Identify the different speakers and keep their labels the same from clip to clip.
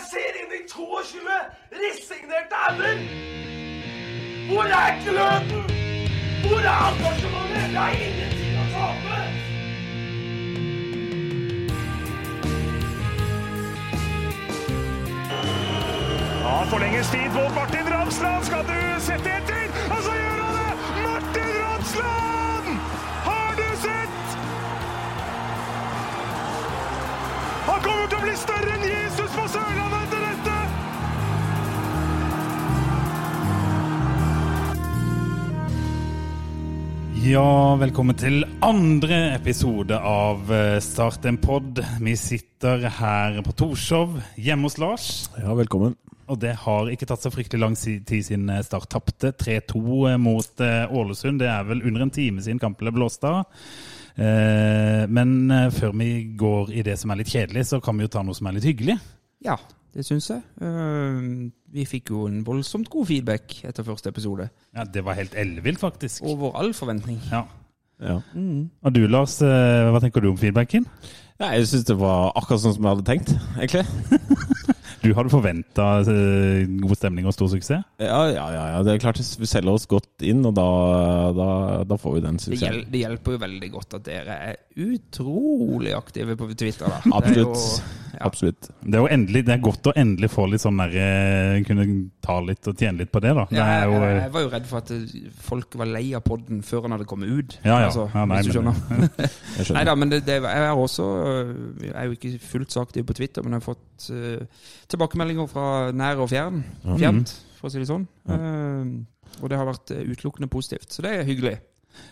Speaker 1: fikk 22 resignerte ender! Hvor er gløden? Hvor er engasjementet? Det er ingenting å tape!
Speaker 2: Ja, forlenges tid på Martin Ramsland. Skal du sette etter? Og så gjør han det! Martin Ramsland! Har du sett? Han kommer til å bli større enn Jesus på Sørlandet etter dette!
Speaker 3: Ja, velkommen til andre episode av eh, Start en pod. Vi sitter her på Torshov, hjemme hos Lars.
Speaker 4: Ja, velkommen.
Speaker 3: Og det har ikke tatt så fryktelig lang si- tid siden eh, Start tapte 3-2 mot eh, Ålesund. Det er vel under en time siden kampen ble blåst av. Eh, Men eh, før vi går i det som er litt kjedelig, så kan vi jo ta noe som er litt hyggelig.
Speaker 5: Ja, det syns jeg. Eh, vi fikk jo en voldsomt god feedback etter første episode.
Speaker 3: Ja, Det var helt ellevilt, faktisk.
Speaker 5: Over all forventning.
Speaker 3: Ja.
Speaker 4: Ja.
Speaker 3: Og du, Lars, eh, hva tenker du om feedbacken?
Speaker 4: Nei, jeg syns det var akkurat sånn som jeg hadde tenkt, egentlig.
Speaker 3: Du hadde forventa god stemning og stor suksess?
Speaker 4: Ja, ja, ja. ja. Det er klart vi selger oss godt inn, og da, da, da får vi den
Speaker 5: Det,
Speaker 4: suksessen.
Speaker 5: hjel det hjelper jo veldig godt at dere er utrolig aktive på Twitter. da. Det er jo-
Speaker 4: Absolutt.
Speaker 5: ja.
Speaker 4: Absolutt.
Speaker 3: Det er jo endelig, det er godt å endelig få litt sånn der eh, Kunne ta litt og tjene litt på det, da. Det
Speaker 5: Ja,
Speaker 3: er
Speaker 5: jeg,
Speaker 3: jo
Speaker 5: jeg,
Speaker 3: eh,
Speaker 5: var jo redd for at eh, folk var lei av podden før han hadde kommet ut.
Speaker 3: Ja, ja.
Speaker 5: Altså,
Speaker 3: Ja, nei,
Speaker 5: hvis du
Speaker 3: men-
Speaker 5: skjønner.
Speaker 4: Jeg
Speaker 5: Nei
Speaker 4: skjønner.
Speaker 5: da, men det, det, jeg er også øh, Jeg er jo ikke fullt så aktiv på Twitter, men jeg har fått øh, tilbakemeldinger fra nær og fjern.
Speaker 3: Mhm.
Speaker 5: Fjernt, for å si det sånn. Eh, og det har vært eh, utelukkende positivt, så det er hyggelig.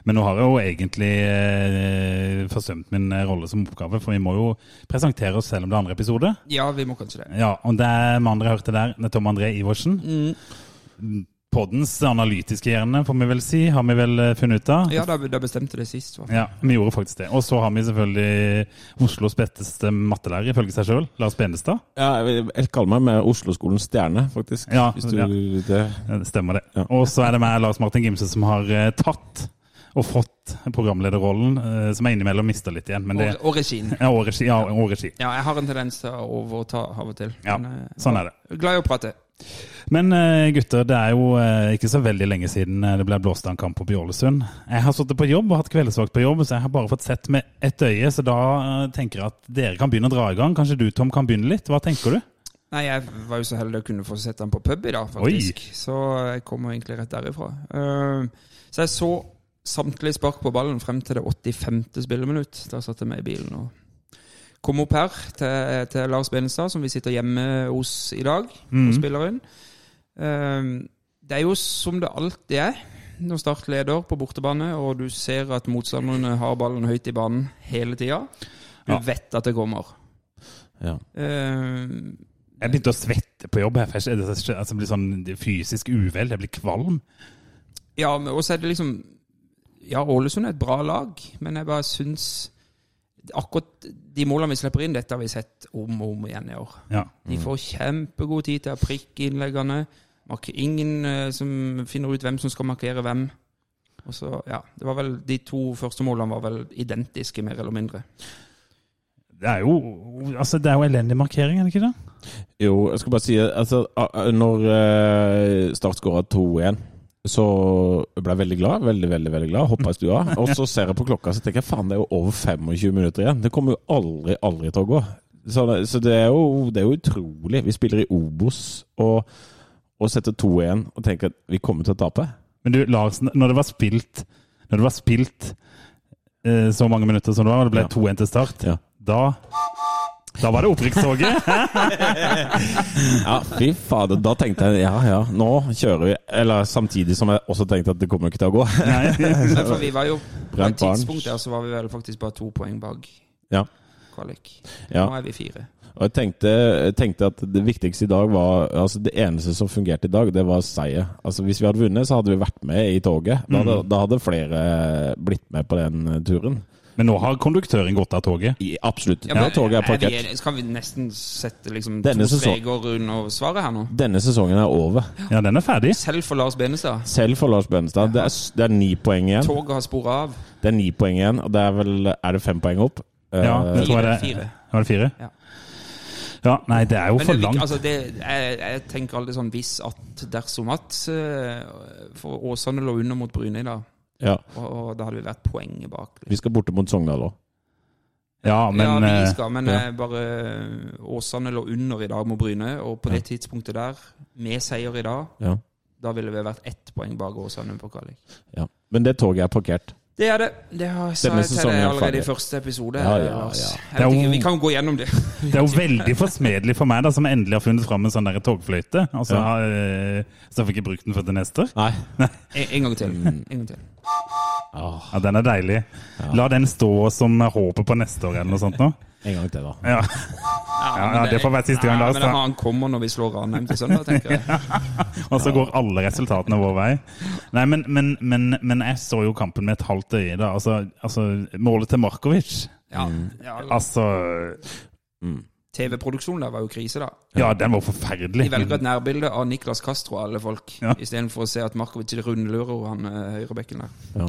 Speaker 3: Men nå har jeg jo egentlig eh, forsømt min eh, rolle som oppgave, for vi må jo presentere oss selv om det er andre episode.
Speaker 5: Ja, vi må kanskje det.
Speaker 3: Ja, og det er mannen dere hørte der, det er Tom André Iversen.
Speaker 5: Mm.
Speaker 3: Poddens analytiske hjerne, får vi vel si, har vi vel eh, funnet ut av.
Speaker 5: Ja, da, da bestemte det sist. hva?
Speaker 3: Ja, vi gjorde faktisk det. Og så har vi selvfølgelig Oslos beste mattelærer, ifølge seg sjøl, Lars Benestad.
Speaker 4: Ja, jeg vil- jeg kaller meg med Oslo-skolens stjerne, faktisk.
Speaker 3: Ja,
Speaker 4: Hvis du,
Speaker 3: ja.
Speaker 4: det,
Speaker 3: Eh, Det Stemmer det.
Speaker 4: Ja.
Speaker 3: Og så er det meg, Lars Martin Gimse, som har eh, tatt og fått programlederrollen, eh, som jeg innimellom mister litt igjen. Men det
Speaker 5: Og, og regien.
Speaker 3: ja, og regi. Ja, og regi.
Speaker 5: Ja, jeg har en tendens til å overta av og til.
Speaker 3: Ja,
Speaker 5: men, eh,
Speaker 3: sånn er det.
Speaker 5: Glad i å prate.
Speaker 3: Men eh, gutter, det er jo eh, ikke så veldig lenge siden eh, det ble blåst av en kamp oppe i Ålesund. Jeg har sittet på jobb og hatt kveldsvakt på jobb, så jeg har bare fått sett med ett øye. Så da eh, tenker jeg at dere kan begynne å dra i gang. Kanskje du, Tom, kan begynne litt? Hva tenker du?
Speaker 5: Nei, jeg var jo så heldig å kunne få sett den på pub i dag, faktisk. Så jeg kommer egentlig rett derifra. Eh, så jeg så samtlige spark på ballen frem til det 85. spilleminutt. Da satt jeg meg i bilen og kom opp her til, til Lars Benestad, som vi sitter hjemme hos i dag, og spiller inn. Eh, det er jo som det alltid er når Start leder på bortebane, og du ser at motstanderne har ballen høyt i banen hele tida. Du
Speaker 3: Ja.
Speaker 5: vet at det kommer.
Speaker 4: ja.
Speaker 5: Eh,
Speaker 3: Jeg begynte å svette på jobb. Jeg, jeg, jeg, jeg blir sånn fysisk uvel. Jeg blir kvalm.
Speaker 5: Ja, men også er det liksom Ja, Ålesund er et bra lag, men jeg bare syns Akkurat de målene vi slipper inn, dette har vi sett om og om igjen i år.
Speaker 3: Ja.
Speaker 5: De
Speaker 4: Mm.
Speaker 5: får kjempegod tid til å prikke innleggene. Marke ingen eh, som finner ut hvem som skal markere hvem. Og så, ja, det var vel De to første målene var vel identiske, mer eller mindre.
Speaker 3: Det er jo, altså, det er jo elendig markering, er det ikke det?
Speaker 4: Jo, jeg skal bare si altså, a- a- Når eh, Start skåra 2-1, så ble jeg veldig glad. Veldig, veldig veldig glad. Hoppa i stua. Og så ser jeg på klokka så tenker jeg, faen, det er jo over 25 minutter igjen. Det kommer jo aldri, aldri til å gå. Så, det, så det, er jo, det er jo utrolig. Vi spiller i Obos og, og setter 2-1 og tenker at vi kommer til å tape.
Speaker 3: Men du, Lars, når det var spilt, når det var spilt eh, så mange minutter som det var, og det ble
Speaker 4: Ja.
Speaker 3: 2-1 til start,
Speaker 4: Ja.
Speaker 3: da da var det opprykkstoget.
Speaker 4: Ja, fy fader. Da tenkte jeg ja, ja, nå kjører vi. Eller samtidig som jeg også tenkte at det kommer jo ikke til å gå.
Speaker 5: Men for vi var jo På et
Speaker 4: Brent barn.
Speaker 5: tidspunkt der så var vi vel faktisk bare to poeng bak
Speaker 4: Ja,
Speaker 5: kvalik.
Speaker 4: ja.
Speaker 5: Nå er vi fire.
Speaker 4: Og jeg tenkte, jeg tenkte at det viktigste i dag var Altså det eneste som fungerte i dag, det var seier. Altså Hvis vi hadde vunnet, så hadde vi vært med i toget. Da hadde, da hadde flere blitt med på den eh, turen.
Speaker 3: Men nå har konduktøren gått av toget.
Speaker 4: I, absolutt.
Speaker 5: Ja, men
Speaker 4: Når toget er
Speaker 5: vi
Speaker 4: parkert.
Speaker 5: enige? Skal vi nesten sette liksom
Speaker 4: Denne
Speaker 5: to
Speaker 4: sesong-
Speaker 5: streker under svaret her nå?
Speaker 4: Denne sesongen er over.
Speaker 3: Ja, den er ferdig.
Speaker 5: Selv for Lars Benestad.
Speaker 4: Selv for Lars Bønnestad. Det er, s- det er ni poeng igjen.
Speaker 5: Toget har sporet av.
Speaker 4: Det er ni poeng igjen, og det er vel Er det fem poeng opp? Eh,
Speaker 3: Ja, det tror jeg det
Speaker 5: Fire, fire.
Speaker 3: Var det fire?
Speaker 5: Ja.
Speaker 3: Ja, nei, det er jo
Speaker 5: Men
Speaker 3: for
Speaker 5: det er viktig-
Speaker 3: langt.
Speaker 5: altså det, jeg, jeg tenker alltid sånn hvis at dersom at eh, For Åsane lå under mot Bryne i dag,
Speaker 4: Ja.
Speaker 5: og, og da hadde vi vært poenget bak.
Speaker 4: Vi skal borte mot Sogndal òg.
Speaker 3: Ja, men
Speaker 5: ja,
Speaker 3: eh,
Speaker 5: vi skal, men
Speaker 4: ja.
Speaker 5: eh, bare Åsane lå under i dag mot Bryne, og på det tidspunktet der, med seier i dag,
Speaker 4: Ja.
Speaker 5: da ville vi vært ett poeng bak Åsane på kvalik.
Speaker 4: Ja. Men det toget er parkert.
Speaker 5: Det er det. Det har sa
Speaker 4: Denne
Speaker 5: jeg til
Speaker 4: sesongen
Speaker 5: deg
Speaker 4: er
Speaker 5: allerede
Speaker 4: ferdig.
Speaker 5: i første episode.
Speaker 4: Ja, ja,
Speaker 5: Lars.
Speaker 4: ja.
Speaker 5: Jeg vet
Speaker 3: Det er jo-
Speaker 5: ikke, vi kan gå gjennom det.
Speaker 3: det er jo veldig forsmedelig for meg, da, som endelig har funnet fram en sånn der togfløyte. Altså,
Speaker 4: Ja.
Speaker 3: eh, så jeg får ikke brukt den før til neste år.
Speaker 4: Nei.
Speaker 5: En, en gang
Speaker 4: Mm.
Speaker 5: til. En gang til.
Speaker 4: Ah,
Speaker 3: Ja, den er deilig. La den stå som håpet på neste år, eller noe sånt nå.
Speaker 4: en gang til, da.
Speaker 3: Ja.
Speaker 5: men
Speaker 3: ja, det får være siste gang,
Speaker 5: Ja,
Speaker 3: Lars,
Speaker 5: Men
Speaker 3: da.
Speaker 5: han kommer når vi slår Ranheim til søndag, tenker jeg.
Speaker 3: Og så går alle resultatene vår vei. Nei, men, men, men, men jeg så jo kampen med et halvt øye. da. Altså, altså målet til Markovic
Speaker 5: Ja,
Speaker 4: Mm.
Speaker 5: ja
Speaker 3: Altså
Speaker 5: TV-produksjonen der var jo krise, da.
Speaker 3: Ja, den var
Speaker 5: De
Speaker 3: forferdelig.
Speaker 5: velger et nærbilde av Niklas Castro og alle folk,
Speaker 3: Ja.
Speaker 5: istedenfor å se at Markovic rundlurer han eh, høyrebekken der.
Speaker 4: Ja.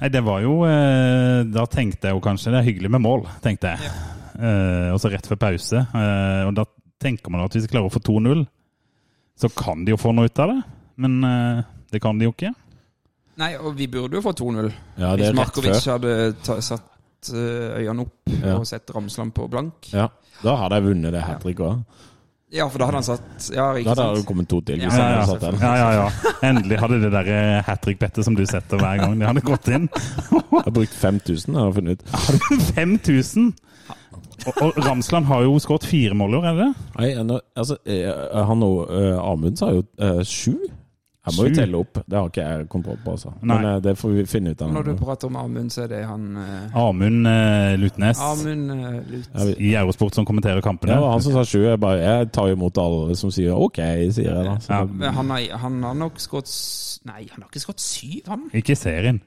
Speaker 3: Nei, det var jo eh, Da tenkte jeg jo kanskje det er hyggelig med mål, tenkte jeg. Eh, og så rett før pause. Eh, og da tenker man at hvis vi klarer å få 2-0, så kan de jo få noe ut av det. Men eh, det kan de jo ikke.
Speaker 5: Nei, og vi burde jo få 2-0.
Speaker 4: ja, det
Speaker 5: Hvis
Speaker 4: er rett
Speaker 5: Markovic
Speaker 4: før.
Speaker 5: hadde ta, satt eh, øynene opp
Speaker 4: Ja.
Speaker 5: og sett Ramsland på blank.
Speaker 4: Ja. Da hadde jeg vunnet det hat trick òg.
Speaker 5: Ja, for da hadde han satt Ja,
Speaker 4: Da
Speaker 5: ikke
Speaker 4: hadde det
Speaker 5: sant?
Speaker 4: kommet to til.
Speaker 5: Ja,
Speaker 4: Hvis jeg
Speaker 3: ja, ja.
Speaker 4: hadde satt den.
Speaker 3: Ja, ja, ja. Endelig hadde det der eh, hat trick-bettet som du setter hver gang det hadde gått inn.
Speaker 4: Jeg har brukt 5000, har jeg funnet ut.
Speaker 3: 5000! Og, og Ramsland har jo skåret fire mål i år, er det det?
Speaker 4: Nei, nå- altså, eh, han og eh, Amund sa jo eh, sju. Jeg må
Speaker 3: Sju?
Speaker 4: jo telle opp. Det har ikke jeg kontroll på, altså.
Speaker 3: Nei.
Speaker 4: Men eh, det får vi finne ut av.
Speaker 5: Når du prater om Amund, så er det han eh,
Speaker 3: Amund eh, Lutnes
Speaker 5: Amund eh, Lut.
Speaker 4: Ja, vi-
Speaker 3: i Eurosport som kommenterer
Speaker 4: Ja,
Speaker 3: kampene.
Speaker 4: det var han som sa sju. Jeg, bare, jeg tar imot alle som sier OK, sier jeg da. Så
Speaker 3: Ja.
Speaker 4: da-
Speaker 5: Men Han har, han har nok skåret s- Nei, han har ikke skåret syv, han.
Speaker 3: Ikke i serien.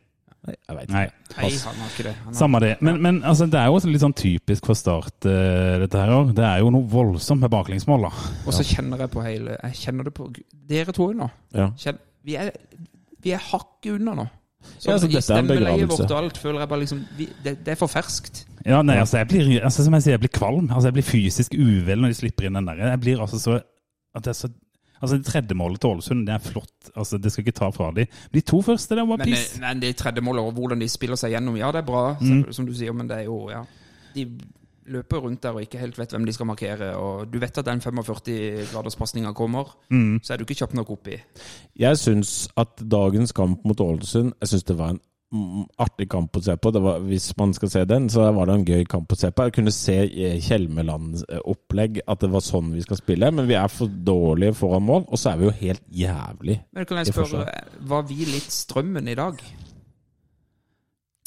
Speaker 4: Nei, jeg vet ikke.
Speaker 3: Nei.
Speaker 5: Nei, han har ikke det. Han har,
Speaker 3: Samme det. Men, men altså, det er jo også litt sånn typisk for Start, eh, dette her òg. Det er jo noe voldsomt med baklengsmål, da.
Speaker 5: og så kjenner jeg på hele Jeg kjenner det på Dere to nå.
Speaker 4: Ja.
Speaker 5: Kjenn- vi er, vi er hakket unna nå.
Speaker 4: Ja, altså,
Speaker 5: i
Speaker 4: dette er en
Speaker 5: stemmeleiet
Speaker 4: begravelse.
Speaker 5: vårt og alt føler jeg bare liksom vi, det, det er for ferskt.
Speaker 3: Ja, nei, altså, jeg blir, altså, som jeg sier, jeg blir kvalm. Altså, jeg blir fysisk uvel når de slipper inn den der. Jeg blir altså så at det er så Altså, det tredje målet til Ålesund, det er flott. Altså, Det skal ikke ta fra dem. De to første, det var
Speaker 5: Men, eh,
Speaker 3: piss.
Speaker 5: men det tredje målet og hvordan de spiller seg gjennom, ja, det er bra, som,
Speaker 4: Mm.
Speaker 5: som du sier, men det er jo ja. De løper rundt der og ikke helt vet hvem de skal markere, og du vet at den 45-graderspasninga kommer,
Speaker 4: Mm.
Speaker 5: så er du ikke kjapp nok oppi.
Speaker 4: Jeg syns at dagens kamp mot Ålesund Jeg synes det var en mm, artig kamp å se på. Det var, hvis man skal se den, så var det en gøy kamp å se på. Jeg kunne se eh, Kjelmelands eh, opplegg, at det var sånn vi skal spille. Men vi er for dårlige foran mål, og så er vi jo helt jævlig.
Speaker 5: Men kan jeg
Speaker 4: I
Speaker 5: spørre, var vi litt strømmen i dag?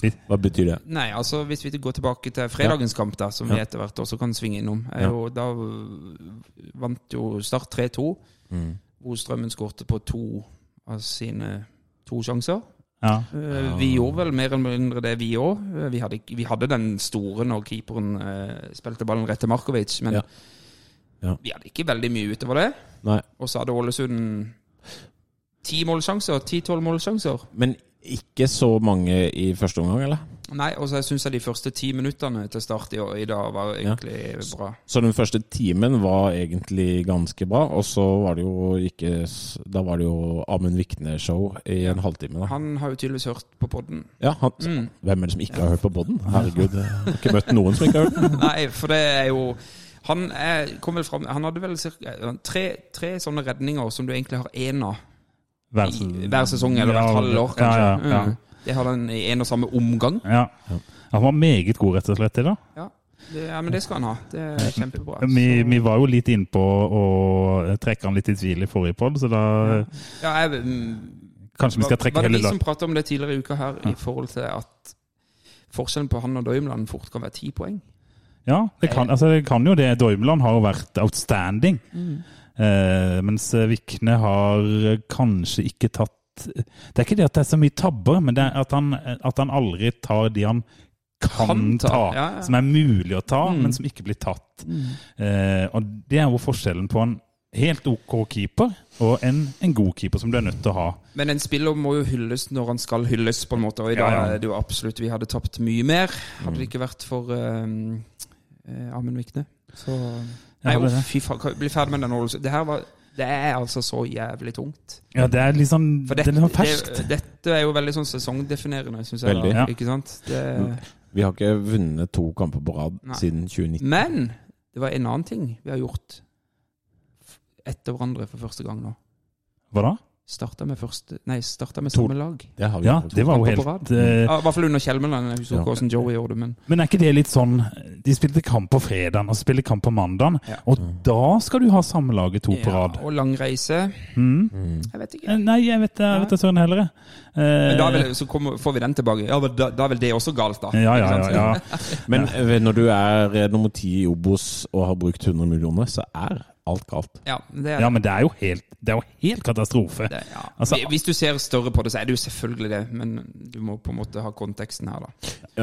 Speaker 4: Hva betyr det?
Speaker 5: Nei, altså hvis vi går tilbake til fredagens kamp, da, som vi etter hvert også kan svinge innom, er
Speaker 4: Ja.
Speaker 5: jo, da øh, vant jo Start 3-2, hvor Strømmen skårte på to av sine to sjanser.
Speaker 3: Ja.
Speaker 5: Eh, Vi gjorde vel mer eller mindre det, vi òg. Vi, hadde ikke- vi hadde den store når keeperen eh, spilte ballen rett til Markovic, men
Speaker 4: Ja. Ja.
Speaker 5: vi hadde ikke veldig mye utover det.
Speaker 4: Nei.
Speaker 5: Og så hadde Ålesund ti målsjanser, ti-tolv målsjanser.
Speaker 4: Men ikke så mange i første omgang, eller?
Speaker 5: Nei, og så syns jeg de første ti minuttene til start i, i dag var egentlig bra.
Speaker 4: Så den første timen var egentlig ganske bra, og så var det jo ikke s- Da var det jo Amund Vikne-show i en halvtime, da.
Speaker 5: Han har jo tydeligvis hørt på podden.
Speaker 4: Ja, han,
Speaker 5: Mm.
Speaker 4: Hvem er det som ikke har hørt på podden? Herregud, jeg har ikke møtt noen som ikke har hørt den.
Speaker 5: Nei, for det er jo Han er, kom vel fram Han hadde vel cirka, tre, tre sånne redninger som du egentlig har én av.
Speaker 3: Hver,
Speaker 5: i hver sesong, eller
Speaker 3: sånn- Ja,
Speaker 5: hvert halvår, kanskje.
Speaker 3: Ja, ja, ja.
Speaker 5: Mm. Det har den i en og samme omgang.
Speaker 3: Ja. Han var meget god, rett og slett, i dag.
Speaker 5: Ja. Det, ja, men det skal han ha. Det er kjempebra. Så-
Speaker 3: Vi, vi var jo litt innpå å trekke han litt i tvil i forrige pod, så da
Speaker 5: ja, jeg, mm,
Speaker 3: Kanskje vi skal
Speaker 5: var
Speaker 3: trekke
Speaker 5: det
Speaker 3: hele
Speaker 5: vi som
Speaker 3: laget.
Speaker 5: pratet om det tidligere i uka her, i forhold til at forskjellen på han og Døymland fort kan være ti poeng?
Speaker 3: Ja, det kan, altså, det kan jo det. Doimland har jo vært outstanding.
Speaker 5: Mm.
Speaker 3: Eh, mens Vikne har eh, kanskje ikke tatt Det er ikke det at det er så mye tabber, men det er at han, at han aldri tar de han kan,
Speaker 5: Kan ta,
Speaker 3: ta.
Speaker 5: ja, Mm. ja.
Speaker 3: Som er mulig å ta, men som ikke blir tatt. Eh, og det er jo forskjellen på en helt OK keeper og en, en god keeper, som du er nødt til å ha.
Speaker 5: Men en spiller må jo hylles når han skal hylles, på en måte. Og i
Speaker 3: Ja, Mm.
Speaker 5: dag
Speaker 3: ja.
Speaker 5: er det jo absolutt Vi hadde tapt mye mer, hadde det ikke vært for eh, eh, Amund Vikne. Så Nei,
Speaker 3: Ja, det er det.
Speaker 5: fy faen, kan vi bli ferdig med den overlevelsen. Det her var Det er altså så jævlig tungt.
Speaker 3: Ja, det er litt sånn-
Speaker 5: For
Speaker 3: det er
Speaker 5: dette,
Speaker 3: litt sånn ferskt.
Speaker 5: det, dette er jo veldig sånn sesongdefinerende, syns jeg.
Speaker 4: Veldig.
Speaker 5: Da,
Speaker 3: Ja.
Speaker 5: Ikke sant? Det,
Speaker 4: Vi har ikke vunnet to kamper på rad
Speaker 5: Nei.
Speaker 4: siden
Speaker 3: Mm.
Speaker 4: 2019.
Speaker 5: men det var en annen ting vi har gjort f- etter hverandre for første gang nå.
Speaker 3: Hva da?
Speaker 5: Starta med, første, nei, starta med
Speaker 4: To-
Speaker 5: samme lag.
Speaker 4: Det har vi
Speaker 3: Ja,
Speaker 4: gjort.
Speaker 3: det var jo
Speaker 5: kamper på
Speaker 3: helt
Speaker 5: rad.
Speaker 3: eh,
Speaker 5: Ja, I hvert fall under Kjelmeland. Jeg husker
Speaker 4: Ja.
Speaker 5: ikke hvordan Joey gjorde det, men
Speaker 3: Men er ikke det litt sånn De spilte kamp på fredagen og så spiller de kamp på mandagen,
Speaker 5: Ja.
Speaker 3: og da skal du ha samlaget to på rad.
Speaker 5: Ja, og lang reise.
Speaker 3: Mm.
Speaker 5: Jeg vet ikke.
Speaker 3: Eh, Nei, jeg vet det, jeg vet det søren heller. jeg. Eh,
Speaker 5: Men da vil, så kommer, får vi den tilbake. Ja, men da, da er vel det også galt, da.
Speaker 3: ja, ja,
Speaker 5: Ikke sant?
Speaker 3: ja, ja.
Speaker 4: Men eh, når du er eh, nummer ti i Obos og har brukt 100 millioner, så er alt galt.
Speaker 5: Ja, det er,
Speaker 3: ja, men det er jo helt, det er jo helt katastrofe.
Speaker 5: det, ja.
Speaker 3: Altså-
Speaker 5: Hvis- Hvis du ser større på det, så er det jo selvfølgelig det, men du må på en måte ha konteksten her, da.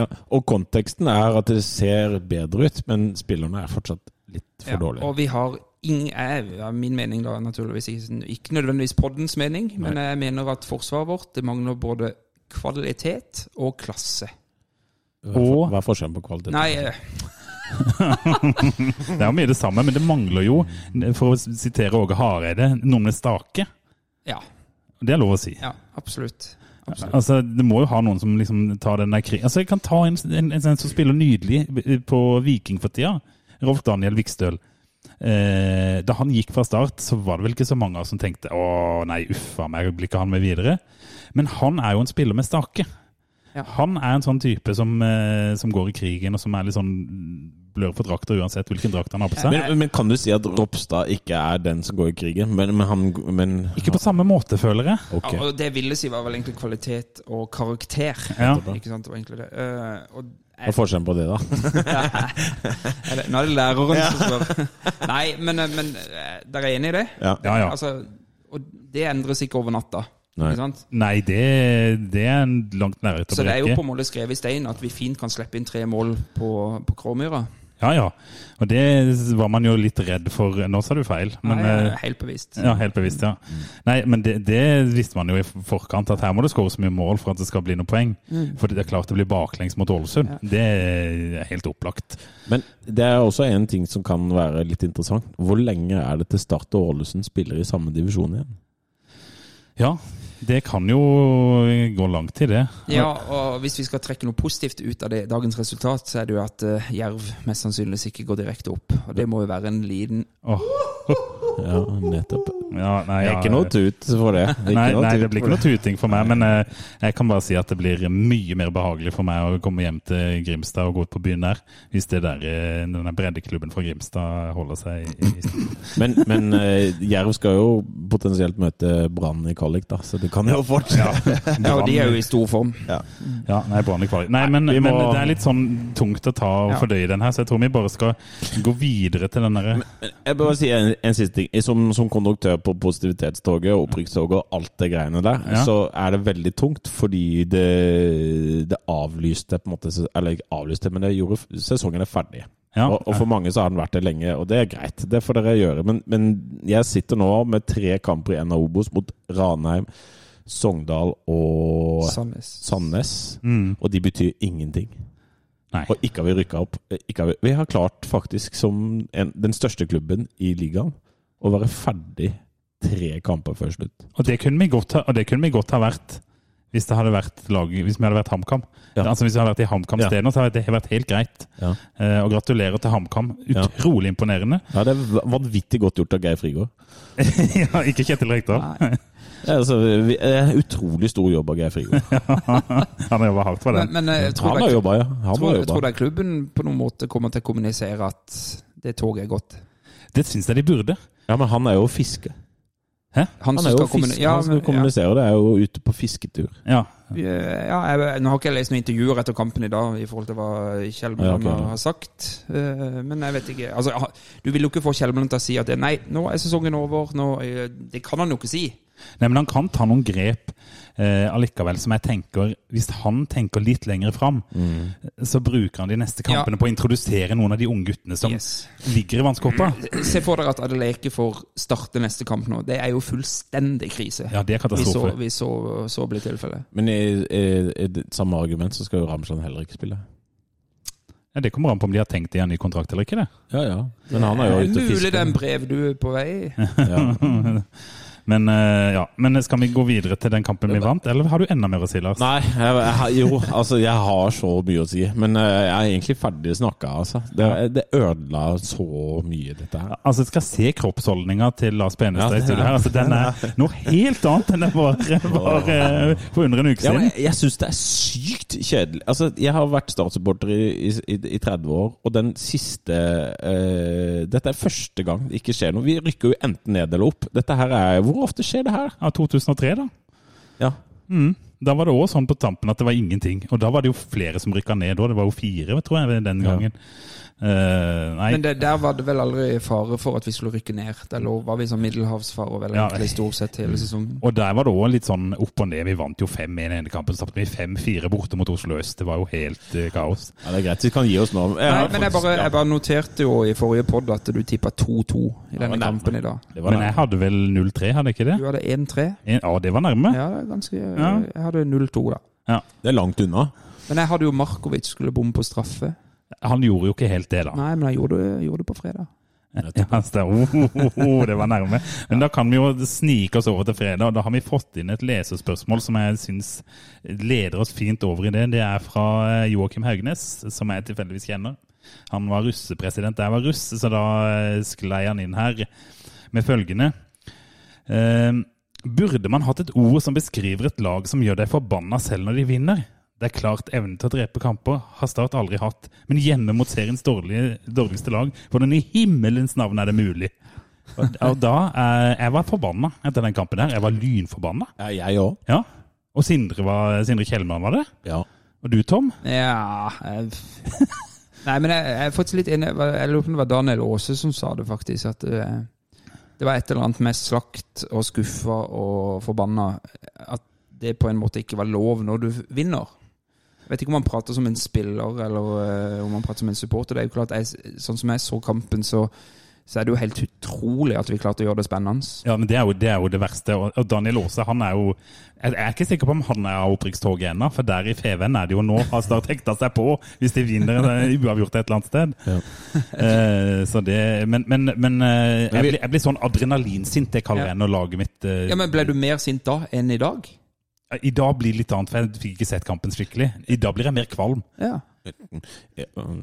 Speaker 4: Ja, og konteksten er at det ser bedre ut, men spillerne er fortsatt litt for
Speaker 5: Ja,
Speaker 4: dårlige.
Speaker 5: Og vi har ingen jeg- ja, Min mening, da, naturligvis ikke, ikke nødvendigvis poddens mening, men jeg mener at forsvaret vårt det mangler både kvalitet og klasse.
Speaker 4: Hva er for-
Speaker 3: Og-
Speaker 4: Hva er forskjellen på kvalitet?
Speaker 5: Nei, eh,
Speaker 3: Det er jo mye det samme, men det mangler jo, for å sitere Åge Hareide, noe med stake.
Speaker 5: ja.
Speaker 3: Det er lov å si.
Speaker 5: ja absolutt. absolutt.
Speaker 3: Altså, Det må jo ha noen som liksom tar den der krig... Altså, Jeg kan ta en, en, en som spiller nydelig på Viking for tida. Rolf Daniel Vikstøl. Eh, da han gikk fra start, så var det vel ikke så mange av oss som tenkte å nei, uffa meg, blir ikke han med videre? Men han er jo en spiller med stake.
Speaker 5: Ja.
Speaker 3: Han er en sånn type som, eh, som går i krigen, og som er litt sånn blør på drakter uansett hvilken drakt han har på seg.
Speaker 4: Men, men kan du si at Ropstad ikke er den som går i krigen? Men, men han men,
Speaker 3: ikke på samme måte, føler jeg.
Speaker 4: Ok.
Speaker 5: Ja, og det jeg ville si, var vel egentlig kvalitet og karakter.
Speaker 3: Ja.
Speaker 5: Ikke sant, det var egentlig det. Eh, og
Speaker 4: Hva er forskjellen på det, da?
Speaker 5: Er det- Nå er det læreren som spør. Nei, men, eh, men eh, dere er enig i det?
Speaker 4: Ja.
Speaker 3: Ja, ja.
Speaker 5: Altså, og det endres ikke over natta.
Speaker 4: Nei.
Speaker 5: Ikke sant?
Speaker 3: Nei, det, det er en langt nærhet å
Speaker 5: Så det er jo
Speaker 3: breke.
Speaker 5: på en måte skrevet i stein at vi fint kan slippe inn tre mål på, på Kråmyra.
Speaker 3: Ja, ja. Og det var man jo litt redd for. Nå sa du feil. Men,
Speaker 5: Nei, jeg er
Speaker 3: eh,
Speaker 5: helt bevisst.
Speaker 3: ja, helt bevisst, ja.
Speaker 4: Mm.
Speaker 3: Nei, men det, det visste man jo i forkant, at her må det skåres mye mål for at det skal bli noen poeng. For det er klart det blir baklengs mot Ålesund. Det er helt opplagt.
Speaker 4: Men det er også en ting som kan være litt interessant. Hvor lenge er det til Start og Ålesund spiller i samme divisjon igjen?
Speaker 3: Ja, det kan jo gå langt i det.
Speaker 5: Ja, og hvis vi skal trekke noe positivt ut av det, dagens resultat, så er det jo at eh, Jerv mest sannsynligvis ikke går direkte opp. Og det må jo være en liten
Speaker 3: Åh,
Speaker 4: Ja, nettopp.
Speaker 3: ja, nei,
Speaker 4: Det er
Speaker 3: ja.
Speaker 4: ikke noe tut for det. det er
Speaker 3: Nei,
Speaker 4: ikke noe
Speaker 3: nei,
Speaker 4: tut
Speaker 3: det blir
Speaker 4: for
Speaker 3: ikke noe tuting for meg, men eh, jeg kan bare si at det blir mye mer behagelig for meg å komme hjem til Grimstad og gå ut på byen der, hvis det der, eh, denne breddeklubben fra Grimstad holder seg i, i
Speaker 4: Men, men eh, Jerv skal jo potensielt møte Brann i kvalik, da, så det kan jo fortsette.
Speaker 5: Ja, og de er jo i stor form.
Speaker 3: Ja, nei, Brann i kvalik. Nei, men,
Speaker 4: vi må-
Speaker 3: men det er litt sånn tungt å ta og
Speaker 5: Ja.
Speaker 3: fordøye den her, så jeg tror vi bare skal gå videre til den derre
Speaker 4: Jeg bør bare si en, en siste ting. Som, som konduktør på positivitetstoget og opprykkstoget og alt det greiene der,
Speaker 3: Ja.
Speaker 4: så er det veldig tungt fordi det, det avlyste på en måte Eller ikke avlyste, men det gjorde f- sesongen er ferdig.
Speaker 3: Ja.
Speaker 4: Og, og for mange så har den vært det lenge, og det er greit. Det får dere gjøre. Men, men jeg sitter nå med tre kamper i en av Obos mot Ranheim, Sogndal og
Speaker 5: Sandnes.
Speaker 4: Sandnes. Og de betyr ingenting.
Speaker 3: Nei.
Speaker 4: Og ikke har vi rykka opp. Ikke har vi, vi har klart, faktisk, som en, den største klubben i ligaen, å være ferdig tre kamper før slutt.
Speaker 3: Og det kunne vi godt ha, og det kunne vi godt ha vært hvis det hadde vært lag, hvis vi hadde vært HamKam.
Speaker 4: Ja.
Speaker 3: Altså Hvis vi hadde vært i HamKam
Speaker 4: Ja.
Speaker 3: stedet nå, så hadde det vært helt greit.
Speaker 4: Ja.
Speaker 3: Eh, og gratulerer til HamKam.
Speaker 4: Ja.
Speaker 3: Utrolig imponerende.
Speaker 4: Ja, Det er v- vanvittig godt gjort av Geir Frigård.
Speaker 3: ja, ikke Kjetil Rekdal.
Speaker 4: Ja, Altså, vi, eh, utrolig stor jobb av Geir Frigård.
Speaker 3: Han har jobba hardt for
Speaker 5: Men,
Speaker 3: den.
Speaker 5: men eh, jeg tror
Speaker 4: Han har
Speaker 5: det er-
Speaker 4: jobba, ja. Han
Speaker 5: tror,
Speaker 4: har
Speaker 5: jeg tror
Speaker 4: jobba.
Speaker 5: det er klubben på noen måte kommer til å kommunisere at det toget er gått.
Speaker 3: Det syns jeg de burde.
Speaker 4: Ja, men han er jo fiske. Han
Speaker 5: som
Speaker 4: er jo
Speaker 5: skal kommuni-
Speaker 4: fiske.
Speaker 5: Ja,
Speaker 4: Han som
Speaker 5: men-
Speaker 4: kommuniserer, det er jo ute på fisketur.
Speaker 3: Ja.
Speaker 5: ja, ja, jeg, nå har ikke jeg lest noen intervjuer etter kampen i dag i forhold til hva
Speaker 4: Ja,
Speaker 5: Kjelmeland
Speaker 4: ok, da.
Speaker 5: har sagt. eh, Men jeg vet ikke altså, ha- Du vil jo ikke få Kjelmeland til å si at det- nei, nå er sesongen over. Nå, eh, det kan han jo ikke si.
Speaker 3: Nei, men han kan ta noen grep eh, allikevel, som jeg tenker Hvis han tenker litt lenger fram, så bruker han de neste
Speaker 5: Ja.
Speaker 3: kampene på å introdusere noen av de unge guttene som
Speaker 5: Yes. Mm.
Speaker 3: ligger i vannskorpa.
Speaker 5: Se for dere at Adeleke får starte neste kamp nå. Det er jo fullstendig krise.
Speaker 3: Ja, det er
Speaker 5: vi så,
Speaker 3: katastrofe.
Speaker 5: vi så, så blir tilfellet.
Speaker 4: Men i, i, i det samme argument så skal jo Ramsland heller ikke spille.
Speaker 3: Ja, Ja, Det kommer an på om de har tenkt i en ny kontrakt eller ikke. det.
Speaker 4: Ja, ja. Men han er jo ute og
Speaker 5: Mulig det er en
Speaker 4: fisker.
Speaker 5: brevdue på vei.
Speaker 4: Ja.
Speaker 3: Men, eh, ja. Men skal vi gå videre til den kampen vi vant, eller har du enda mer å si, Lars?
Speaker 4: Nei, jeg, jeg, jo, altså jeg har så mye å si. Men eh, jeg er egentlig ferdig snakka, altså. Det, det ødela så mye, dette her.
Speaker 3: Altså, Jeg skal se kroppsholdninga til Lars Benestad
Speaker 4: Ja,
Speaker 3: i studio her. Altså, Den er noe helt annet enn den var, var eh, for under en uke
Speaker 4: Ja, men
Speaker 3: siden.
Speaker 4: jeg jeg syns det er sykt kjedelig. Altså, jeg har vært Start-supporter i, i, i- i 30 år, og den siste eh, Dette er første gang det ikke skjer noe. Vi rykker jo enten ned eller opp. Dette her er Hvor ofte skjer det her?
Speaker 3: Ja, 2003, da.
Speaker 4: Ja.
Speaker 3: Da var det òg sånn på tampen at det var ingenting. Og da var det jo flere som rykka ned òg. Det var jo fire, tror jeg, den gangen. Eh, nei.
Speaker 5: Men det, der var det vel aldri fare for at vi skulle rykke ned. Der lå, var vi sånn middelhavsfarer vel
Speaker 3: Ja.
Speaker 5: egentlig stort sett hele sesongen.
Speaker 3: Og der var det òg litt sånn opp og ned. Vi vant jo 5-1 i den ene kampen, så tapte vi 5-4 borte mot Oslo øst. Det var jo helt eh, kaos.
Speaker 4: ja, det er greit. Vi kan gi oss nå. Jeg
Speaker 5: Nei,
Speaker 4: har
Speaker 5: men jeg
Speaker 4: faktisk-
Speaker 5: bare,
Speaker 4: ja.
Speaker 5: jeg bare noterte jo i forrige pod at du tippa 2-2 i denne
Speaker 4: men nærmere.
Speaker 5: kampen i dag.
Speaker 4: Det var
Speaker 3: Men jeg hadde vel 0-3, hadde jeg ikke det?
Speaker 5: Du hadde 1-3.
Speaker 3: En- Ja, det var nærme.
Speaker 5: Ja, det er ganske Jeg hadde 0-2, da.
Speaker 4: Det er langt unna.
Speaker 5: Men jeg hadde jo Markovic skulle bomme på straffe.
Speaker 3: Han gjorde jo ikke helt det, da.
Speaker 5: Nei, men jeg gjorde, gjorde det på fredag.
Speaker 3: Ja, altså, oh, oh, oh, det var nærme. Men da kan vi jo snike oss over til fredag, og da har vi fått inn et lesespørsmål som jeg syns leder oss fint over i det. Det er fra eh, Joakim Haugnes, som jeg tilfeldigvis kjenner. Han var russepresident da jeg var russ, så da eh, sklei han inn her med følgende. Eh, burde man hatt et ord som beskriver et lag som gjør deg forbanna selv når de vinner? Det er klart evnen til å drepe kamper har Start aldri hatt, men hjemme mot seriens dårlige, dårligste lag, hvordan i himmelens navn er det mulig? Og, og da, eh, Jeg var forbanna etter den kampen her. Jeg var lynforbanna.
Speaker 4: Ja, jeg òg.
Speaker 3: Ja. Og Sindre, var, Sindre Kjellmann var det.
Speaker 4: Ja.
Speaker 3: Og du, Tom?
Speaker 5: Ja jeg... Nei, men jeg, jeg er faktisk litt inne Jeg lurer på om det var Daniel Aase som sa det, faktisk. At eh, det var et eller annet med slakt og skuffa og forbanna At det på en måte ikke var lov når du vinner. Jeg vet ikke om han prater som en spiller eller eh, om han prater som en supporter. Det er jo klart, jeg, Sånn som jeg så kampen, så, så er det jo helt utrolig at vi klarte å gjøre det spennende.
Speaker 3: Ja, men Det er jo det, er jo det verste. Og og Daniel Aase han er jo Jeg jeg er ikke sikker på om han er av opprykkstoget ennå, for der i Feven er det jo nå har Start hekta seg på hvis de vinner en eh, uavgjort et eller annet sted. Eh, så det, men men, men eh, jeg, blir, jeg blir sånn adrenalinsint, det kaller
Speaker 5: Ja.
Speaker 3: jeg når laget mitt eh,
Speaker 5: Ja, men Ble du mer sint da enn i dag?
Speaker 3: I dag blir det litt annet, for jeg fikk ikke sett kampen skikkelig. I dag blir jeg mer kvalm.
Speaker 5: Ja.
Speaker 4: Ja. um,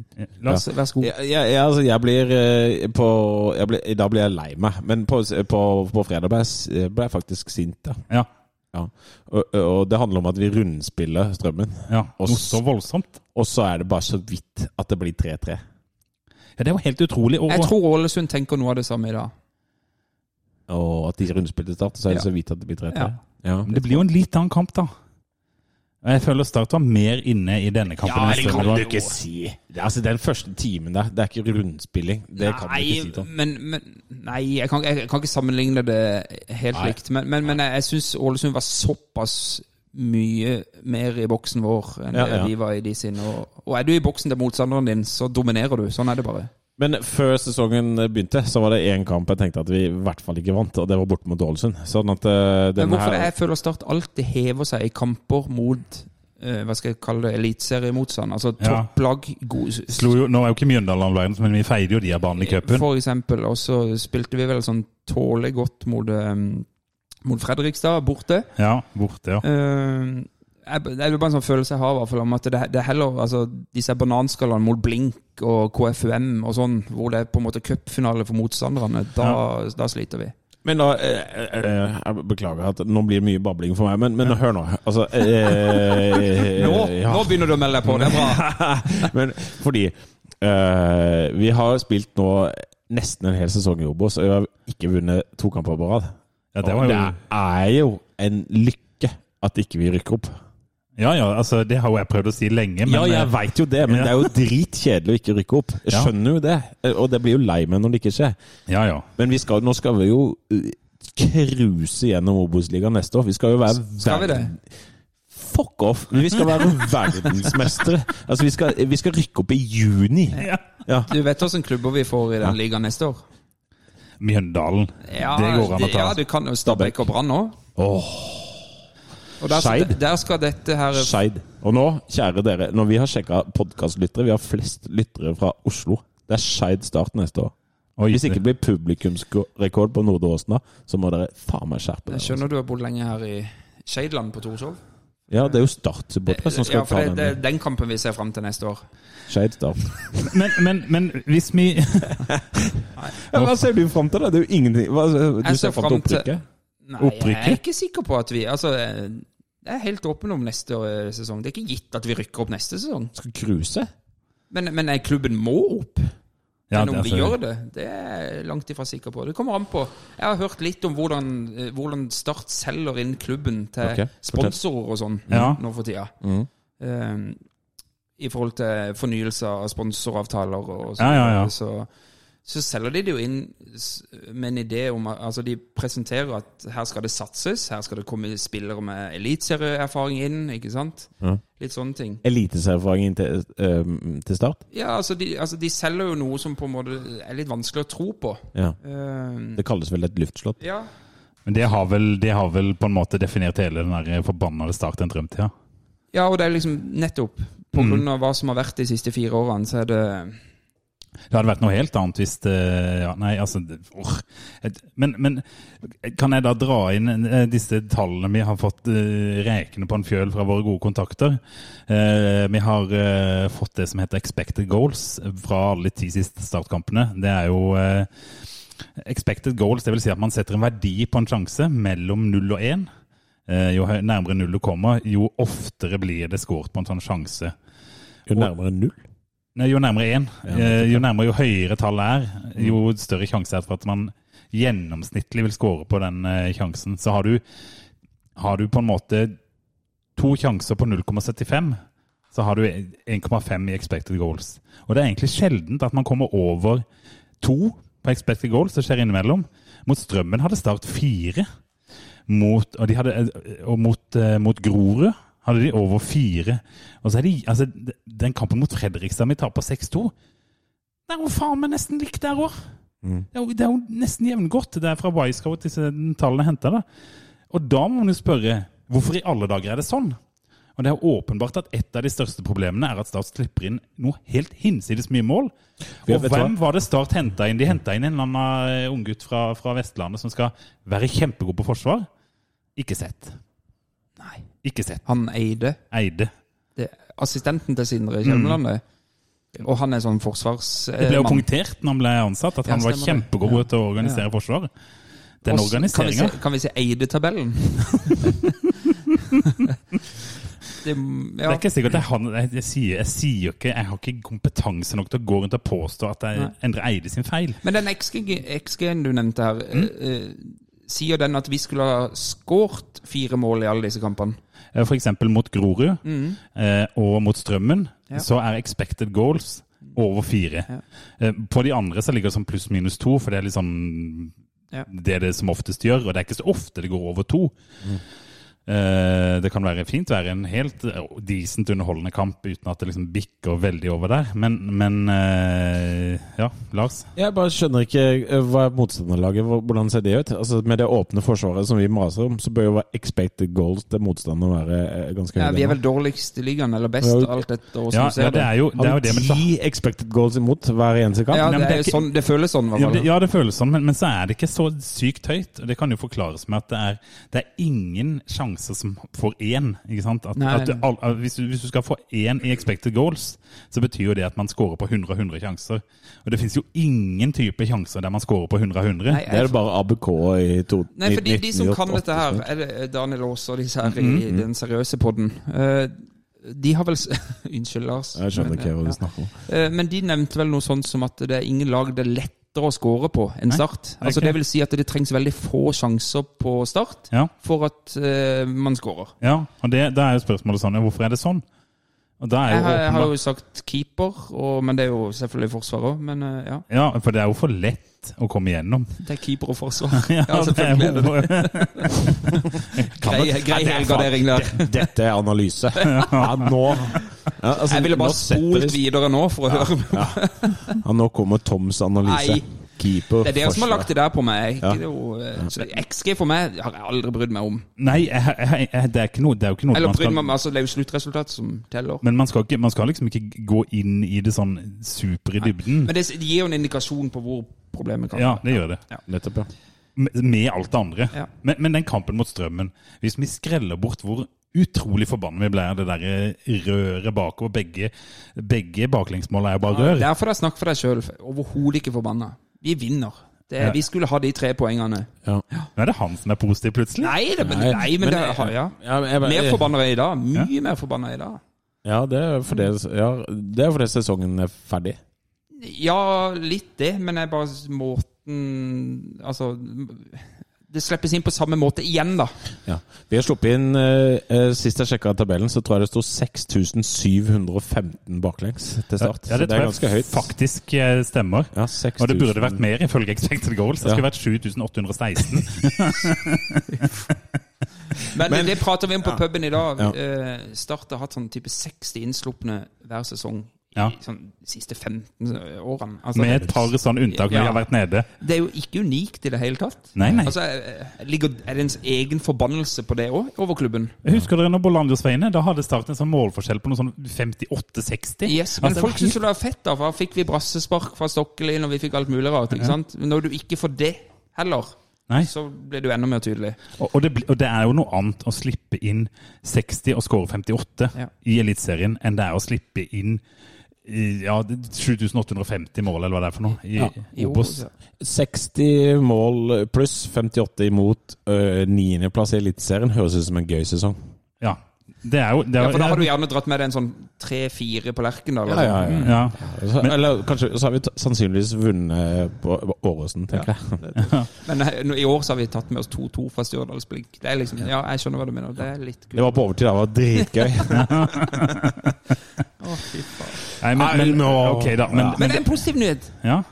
Speaker 3: La oss,
Speaker 5: Så, vær så god.
Speaker 4: Jeg, jeg, jeg- altså, jeg blir eh, på jeg blir, Da blir jeg lei meg. Men på, på, på fredag ble jeg, s- eh, ble jeg faktisk sint, ja.
Speaker 3: ja.
Speaker 4: ja. Og, og det handler om at vi rundspiller Strømmen.
Speaker 3: ja.
Speaker 4: Og
Speaker 3: Noe
Speaker 4: s-
Speaker 3: så voldsomt.
Speaker 4: Og så er det bare så vidt at det blir 3-3.
Speaker 3: Ja, Det er jo helt utrolig. Og,
Speaker 5: Jeg tror Ålesund tenker noe av det samme i dag.
Speaker 4: Og at de rundspilte Start, så er det så vidt at det blir 3-3. Ja.
Speaker 5: Ja.
Speaker 3: Men Det blir jo en litt annen kamp, da. Og Jeg føler Start var mer inne i denne kampen. enn Strømmen var.
Speaker 4: ikke si. Det, er- altså, den første timen der, det er ikke rundspilling. Det kan du ikke si, Tom.
Speaker 5: men, men, nei jeg, kan, jeg kan ikke sammenligne det helt
Speaker 4: Nei.
Speaker 5: likt. Men, men, men jeg, jeg syns Ålesund var såpass mye mer i boksen vår enn
Speaker 4: Ja,
Speaker 5: det
Speaker 4: ja.
Speaker 5: vi var i de sine. Og, og er du i boksen til motstanderen din, så dominerer du. Sånn er det bare.
Speaker 4: Men før sesongen begynte, så var det én kamp jeg tenkte at vi i hvert fall ikke vant, og det var borte mot Ålesund. Sånn at eh,
Speaker 5: Men
Speaker 4: denne
Speaker 5: hvorfor
Speaker 4: her
Speaker 5: jeg føler Start alltid hever seg i kamper mot eh, hva skal jeg kalle det, eliteseriemotstand? Altså
Speaker 3: Ja.
Speaker 5: topplag, god,
Speaker 3: Slo jo, nå er jo ikke Mjøndalen all verdens, men vi feide jo de av banen i cupen.
Speaker 5: For eksempel, og så spilte vi vel sånn tålelig godt mot, eh, mot Fredrikstad, borte.
Speaker 3: Ja, borte, ja.
Speaker 5: Eh, jeg, det er bare en sånn følelse jeg har i hvert fall om at det, det er heller altså, disse bananskallene mot Blink og KFUM og sånn, hvor det er på en måte cupfinale for motstanderne, da, da sliter vi.
Speaker 4: Men da eh, eh, Jeg beklager at nå blir det mye babling for meg, men, men hør nå. Altså eh,
Speaker 5: Nå,
Speaker 4: ja.
Speaker 5: nå begynner du å melde deg på, det er bra!
Speaker 4: Men fordi eh, Vi har spilt nå nesten en hel sesong i Obos, og vi har ikke vunnet to kamper på rad.
Speaker 3: Ja, det
Speaker 4: Og
Speaker 3: var jo,
Speaker 4: det er jo en lykke at ikke vi rykker opp.
Speaker 3: ja, ja, altså det har jo jeg prøvd å si lenge, men
Speaker 4: ja, jeg
Speaker 3: eh,
Speaker 4: veit jo det, men det er jo dritkjedelig å ikke rykke opp. Jeg
Speaker 3: Ja.
Speaker 4: skjønner jo det, Eh, og det blir jo lei meg når det ikke skjer.
Speaker 3: ja, ja.
Speaker 4: Men vi skal, nå skal vi jo eh, cruise gjennom Obos-ligaen neste år. Vi skal jo være
Speaker 5: Skal vi det?
Speaker 4: verden- Fuck off! Men Vi skal være verdensmestere. Altså, vi skal, vi skal rykke opp i juni.
Speaker 3: Ja.
Speaker 4: Ja.
Speaker 5: Du vet åssen klubber vi får i den ligaen neste år?
Speaker 3: Mjøndalen. det går an å ta.
Speaker 5: Ja, du kan jo Stabæk og Brann òg.
Speaker 4: Åh,
Speaker 5: Og der,
Speaker 4: Skeid.
Speaker 5: der skal dette her
Speaker 4: Skeid. Og nå, kjære dere, når vi har sjekka podkastlyttere Vi har flest lyttere fra Oslo. Det er Skeid Start neste år.
Speaker 3: Oi,
Speaker 4: Hvis ikke det blir publikumsrekord på Nordre Åsna, så må dere faen meg skjerpe dere.
Speaker 5: Jeg skjønner du har bodd lenge her i Skeidland på Torshov.
Speaker 4: Ja, det er jo Start-supportere som skal
Speaker 5: Ja, for
Speaker 4: ta
Speaker 5: det, det
Speaker 4: den.
Speaker 5: er den kampen vi ser fram til neste år.
Speaker 4: Skeid Start.
Speaker 3: men, men, men hvis vi
Speaker 4: Ja, hva ser du fram til, da? Det er jo ingenting hva, Du
Speaker 5: Jeg
Speaker 4: ser fram
Speaker 5: ser
Speaker 4: til
Speaker 5: frem til-
Speaker 4: opprykket?
Speaker 5: Nei,
Speaker 3: Opprykket?
Speaker 5: jeg er ikke sikker på at vi Altså, jeg er helt åpen om neste år, eh, sesong. Det er ikke gitt at vi rykker opp neste sesong.
Speaker 4: Skal cruise?
Speaker 5: Men, men eh, klubben må opp.
Speaker 3: Ja,
Speaker 5: men om
Speaker 3: det
Speaker 5: de
Speaker 3: er altså-
Speaker 5: gjør
Speaker 3: så-
Speaker 5: det, det er jeg langt ifra sikker på. Det kommer an på. Jeg har hørt litt om hvordan, eh, hvordan Start selger inn klubben til
Speaker 4: Ok, fortell.
Speaker 5: sponsorer og sånn
Speaker 3: Ja. Mm.
Speaker 5: nå for tida.
Speaker 4: Mhm.
Speaker 5: Eh, I forhold til fornyelse av sponsoravtaler og sånn.
Speaker 3: Ja, ja, ja.
Speaker 5: Så, så selger de det jo inn s- med en idé om at altså De presenterer at her skal det satses, her skal det komme spillere med eliteserieerfaring inn, ikke sant?
Speaker 4: Ja.
Speaker 5: Litt sånne ting.
Speaker 4: Eliteserfaringen til, eh, til Start?
Speaker 5: Ja, altså de, altså de selger jo noe som på en måte er litt vanskelig å tro på.
Speaker 4: Ja.
Speaker 5: Eh,
Speaker 4: Det kalles vel et luftslott?
Speaker 5: ja.
Speaker 3: Men det har, vel, det har vel på en måte definert hele den der forbannede Start en drømtida.
Speaker 5: ja, og det er liksom nettopp på
Speaker 3: Mm.
Speaker 5: grunn av hva som har vært de siste fire årene, så er det
Speaker 3: Det hadde vært noe helt annet hvis det ja, Nei, altså det- orr. Et- men, men kan jeg da dra inn eh, disse tallene vi har fått eh, rekende på en fjøl fra våre gode kontakter? Eh, vi har eh, fått det som heter expected goals fra alle de ti siste startkampene. Det er jo eh, Expected goals, det vil si at man setter en verdi på en sjanse mellom 0 og 1. Eh, Jo høy- nærmere 0 du kommer, jo oftere blir det skåret på en sånn sjanse.
Speaker 4: Jo nærmere null.
Speaker 3: Nei, jo nærmere 1. Eh, Jo nærmere, jo høyere tallet er, jo større sjanse er det for at man gjennomsnittlig vil skåre på den eh, sjansen. Så har du, har du på en måte to sjanser på 0,75, så har du 1,5 i expected goals. Og det er egentlig sjeldent at man kommer over to på expected goals, det skjer innimellom. Mot Strømmen hadde Start fire. Mot, og de hadde, og mot, eh, mot Grorud hadde de over fire. Og så er de, altså, den kampen mot Fredrikstad vi taper 6-2 Det er jo faen meg nesten likt der òg!
Speaker 4: Mm.
Speaker 3: Det, er jo- det er jo nesten jevngodt. Det er fra Wisecout disse tallene er henta. Og da må man jo spørre hvorfor i alle dager er det sånn? Og det er jo åpenbart at et av de største problemene er at Start slipper inn noe helt hinsides mye mål.
Speaker 4: Ja,
Speaker 3: Og
Speaker 4: vet du
Speaker 3: hvem var det Start henta inn? De henta inn en eller annen eh, unggutt fra, fra Vestlandet som skal være kjempegod på forsvar. Ikke sett.
Speaker 5: Nei.
Speaker 3: Ikke sett.
Speaker 5: Han eide
Speaker 3: Eide.
Speaker 5: det, assistenten til Sindre Kjelmeland, det. og han er sånn forsvarsmann.
Speaker 3: Mm. Det ble jo punktert når han ble ansatt, at
Speaker 5: Eh, Ja,
Speaker 3: han var
Speaker 5: stemmer det.
Speaker 3: kjempegod til å organisere forsvar. Den organiseringa.
Speaker 5: Kan vi se, se Eide-tabellen? det,
Speaker 3: Det
Speaker 5: ja.
Speaker 3: er ikke sikkert det er han jeg, jeg, sier, jeg sier jo ikke Jeg har ikke kompetanse nok til å gå rundt og påstå at jeg
Speaker 5: Nei.
Speaker 3: endrer Eide sin feil.
Speaker 5: Men den XG XG-en du nevnte her,
Speaker 3: Mm.
Speaker 5: eh, eh, sier den at vi skulle ha skåret fire mål i alle disse kampene?
Speaker 3: Eh, For eksempel mot Grorud eh, og mot Strømmen,
Speaker 5: Mm. Ja.
Speaker 3: så er expected goals over fire. Eh, På de andre så ligger det som pluss-minus to, for det er litt sånn
Speaker 5: Ja.
Speaker 3: det det som oftest gjør, og det er ikke så ofte det går over to. Eh, Det kan være fint være en helt eh, decent underholdende kamp uten at det liksom bikker veldig over der, men, men eh, Ja, Lars?
Speaker 4: Jeg bare skjønner ikke eh, hva er motstanderlaget Hvor- Hvordan ser det ut? Altså Med det åpne forsvaret som vi maser om, så bør jo være expected goals til motstanderen være eh, ganske
Speaker 5: Ja, vi er
Speaker 4: nå.
Speaker 5: vel dårligst i ligaen, eller best,
Speaker 4: Ja, ok.
Speaker 5: alt etter hvordan
Speaker 3: Ja,
Speaker 5: du ser
Speaker 3: ja, det er jo det. Er
Speaker 4: Har
Speaker 3: jo det
Speaker 4: vi
Speaker 3: men så-
Speaker 4: ti expected goals imot hver eneste kamp?
Speaker 5: Ja,
Speaker 3: Nei, men
Speaker 5: det,
Speaker 3: det er
Speaker 5: er
Speaker 3: ikke-
Speaker 5: sånn, det føles sånn, i hvert
Speaker 3: Ja,
Speaker 5: fall.
Speaker 3: det, ja, det føles sånn, men, men så er det ikke så sykt høyt. Og det kan jo forklares med at det er, det er ingen sjanser som får én. Ikke sant? At,
Speaker 5: Nei,
Speaker 3: at du,
Speaker 5: nei.
Speaker 3: al- al- hvis, du, hvis du skal få én i expected goals, så betyr jo det at man scorer på 100 av 100 sjanser. Og det fins jo ingen type sjanser der man scorer på 100 av 100.
Speaker 5: Nei,
Speaker 4: Det er det bare ABK i to,
Speaker 5: Nei, for de, de som kan
Speaker 4: 1998,
Speaker 5: dette her, er det Daniel Aas og disse her
Speaker 4: Mm,
Speaker 5: i den seriøse podden. eh, de har vel s- Unnskyld, Lars.
Speaker 4: Jeg skjønner ikke hva
Speaker 5: men,
Speaker 4: du snakker om.
Speaker 5: ja. Eh, men de nevnte vel noe sånt som at det er ingen lag det er lettere å score på enn Start. Altså,
Speaker 3: ok.
Speaker 5: Det vil si at det trengs veldig få sjanser på Start
Speaker 3: Ja,
Speaker 5: for at eh, man scorer.
Speaker 3: ja, og det, da er jo spørsmålet sånn ja, Hvorfor er det sånn? Og da er jo
Speaker 5: Jeg, har- jeg har
Speaker 3: åpenbart-
Speaker 5: jo sagt keeper, og, men det er jo selvfølgelig forsvar òg. Men eh, ja,
Speaker 3: Ja, for det er jo for lett å komme igjennom.
Speaker 5: det er keeper og forsvar.
Speaker 3: Ja,
Speaker 5: selvfølgelig er det
Speaker 3: det.
Speaker 5: Grei, grei
Speaker 4: Ja, det er
Speaker 5: helgardering der.
Speaker 4: Dette er analyse. Ja, nå ja, altså,
Speaker 5: Jeg ville
Speaker 4: nå
Speaker 5: bare
Speaker 4: setter
Speaker 5: spolt
Speaker 4: vi-
Speaker 5: videre nå for å høre.
Speaker 4: ja, Nå kommer Toms analyse.
Speaker 5: Nei,
Speaker 4: Keeper.
Speaker 5: Det er dere som har lagt det der på meg.
Speaker 4: Ja.
Speaker 5: Ikke noe, eh, så det- XG for meg har jeg aldri brydd meg om.
Speaker 3: Nei, jeg, jeg, jeg, det er ikke noe, det er jo ikke noe
Speaker 5: Eller
Speaker 3: man
Speaker 5: brydd
Speaker 3: skal-
Speaker 5: meg om, altså Det er jo sluttresultatet som teller.
Speaker 3: Men man skal, ikke, man skal liksom ikke gå inn i det sånn super i dybden.
Speaker 5: Men det det gir jo en indikasjon på hvor problemet kan
Speaker 3: Ja,
Speaker 5: være.
Speaker 3: det gjør det.
Speaker 4: Nettopp, ja.
Speaker 3: Med, med alt det andre.
Speaker 5: Ja.
Speaker 3: Men, men den kampen mot strømmen Hvis vi skreller bort hvor utrolig forbanna vi ble av det derre røret bakover Begge, begge baklengsmåla er jo bare rør.
Speaker 5: Derfor er jeg snakk for deg sjøl. Overhodet ikke forbanna. Vi vinner. Det,
Speaker 3: Ja.
Speaker 5: Vi skulle ha de tre poengene.
Speaker 4: ja.
Speaker 3: Nå er det han som er positiv, plutselig.
Speaker 5: Nei, det, men, nei, men det har ja.
Speaker 4: Ja, men jeg bare-
Speaker 5: Mer forbanna i dag. Mye mer forbanna i dag.
Speaker 4: Ja, det er fordi ja, det er fordi sesongen er ferdig.
Speaker 5: Ja, litt det, men jeg bare Måten Altså Det slippes inn på samme måte igjen, da.
Speaker 4: Ja. Vi har sluppet inn eh, eh, Sist jeg sjekka tabellen, så tror jeg det sto 6715 baklengs til start.
Speaker 3: Ja, det
Speaker 4: så det er
Speaker 3: tror
Speaker 4: ganske
Speaker 3: jeg
Speaker 4: høyt.
Speaker 3: faktisk eh, stemmer.
Speaker 4: Ja,
Speaker 3: Og
Speaker 4: 6000.
Speaker 3: det burde vært mer ifølge Expected Goals. Det
Speaker 4: Ja.
Speaker 3: skulle vært 7816.
Speaker 5: Men, det prater vi om på puben i dag.
Speaker 4: Ja.
Speaker 5: Eh, Start har hatt sånn type 60 innslupne hver sesong
Speaker 3: Ja.
Speaker 5: i sånn de siste 15 årene. Altså,
Speaker 3: Med et par sånne unntak når vi
Speaker 5: Ja.
Speaker 3: har vært nede.
Speaker 5: Det er jo ikke unikt i det hele tatt.
Speaker 3: Nei, nei.
Speaker 5: Altså, eh, ligger, er det ens egen forbannelse på det òg, over klubben?
Speaker 3: Husker dere når Bollandios veiene? Da hadde Start en sånn målforskjell på noe sånn 58-60.
Speaker 5: Yes, men
Speaker 3: Altså, det var
Speaker 5: folk syns jo det er fett, da. For da fikk vi brassespark fra Stokkeli, og vi fikk alt mulig rart. ikke sant? Men når du ikke får det heller,
Speaker 3: Nei.
Speaker 5: så blir du enda mer tydelig.
Speaker 3: Og, og, det, bli- og det er jo noe annet å slippe inn 60 og score 58
Speaker 5: Ja.
Speaker 3: i Eliteserien enn det er å slippe inn i, ja, det- 7850 mål, eller hva det er for noe, i
Speaker 5: Jo,
Speaker 3: Obos.
Speaker 5: ja.
Speaker 4: 60 mål pluss 58 imot eh, niendeplass i Eliteserien høres ut som en gøy sesong.
Speaker 3: Ja. Det er jo det er,
Speaker 5: Ja, for da har du gjerne dratt med deg en sånn tre-fire på Lerkendal.
Speaker 4: Ja, ja, ja.
Speaker 3: ja.
Speaker 4: Så, eller kanskje så har vi t sannsynligvis vunnet eh, på på Åråsen, tenker jeg.
Speaker 5: Men eh, nå- i år så har vi tatt med oss 2-2 fra Stjørdals Blink. Det er liksom, ja, jeg skjønner hva du mener. Det er litt
Speaker 4: Det
Speaker 5: kult.
Speaker 4: var på overtid, det var dritgøy.
Speaker 5: Å, fy faen.
Speaker 3: Nei, men, men, ok, da. Men,
Speaker 5: Men
Speaker 3: men,
Speaker 5: det er en positiv nyhet.
Speaker 3: ja.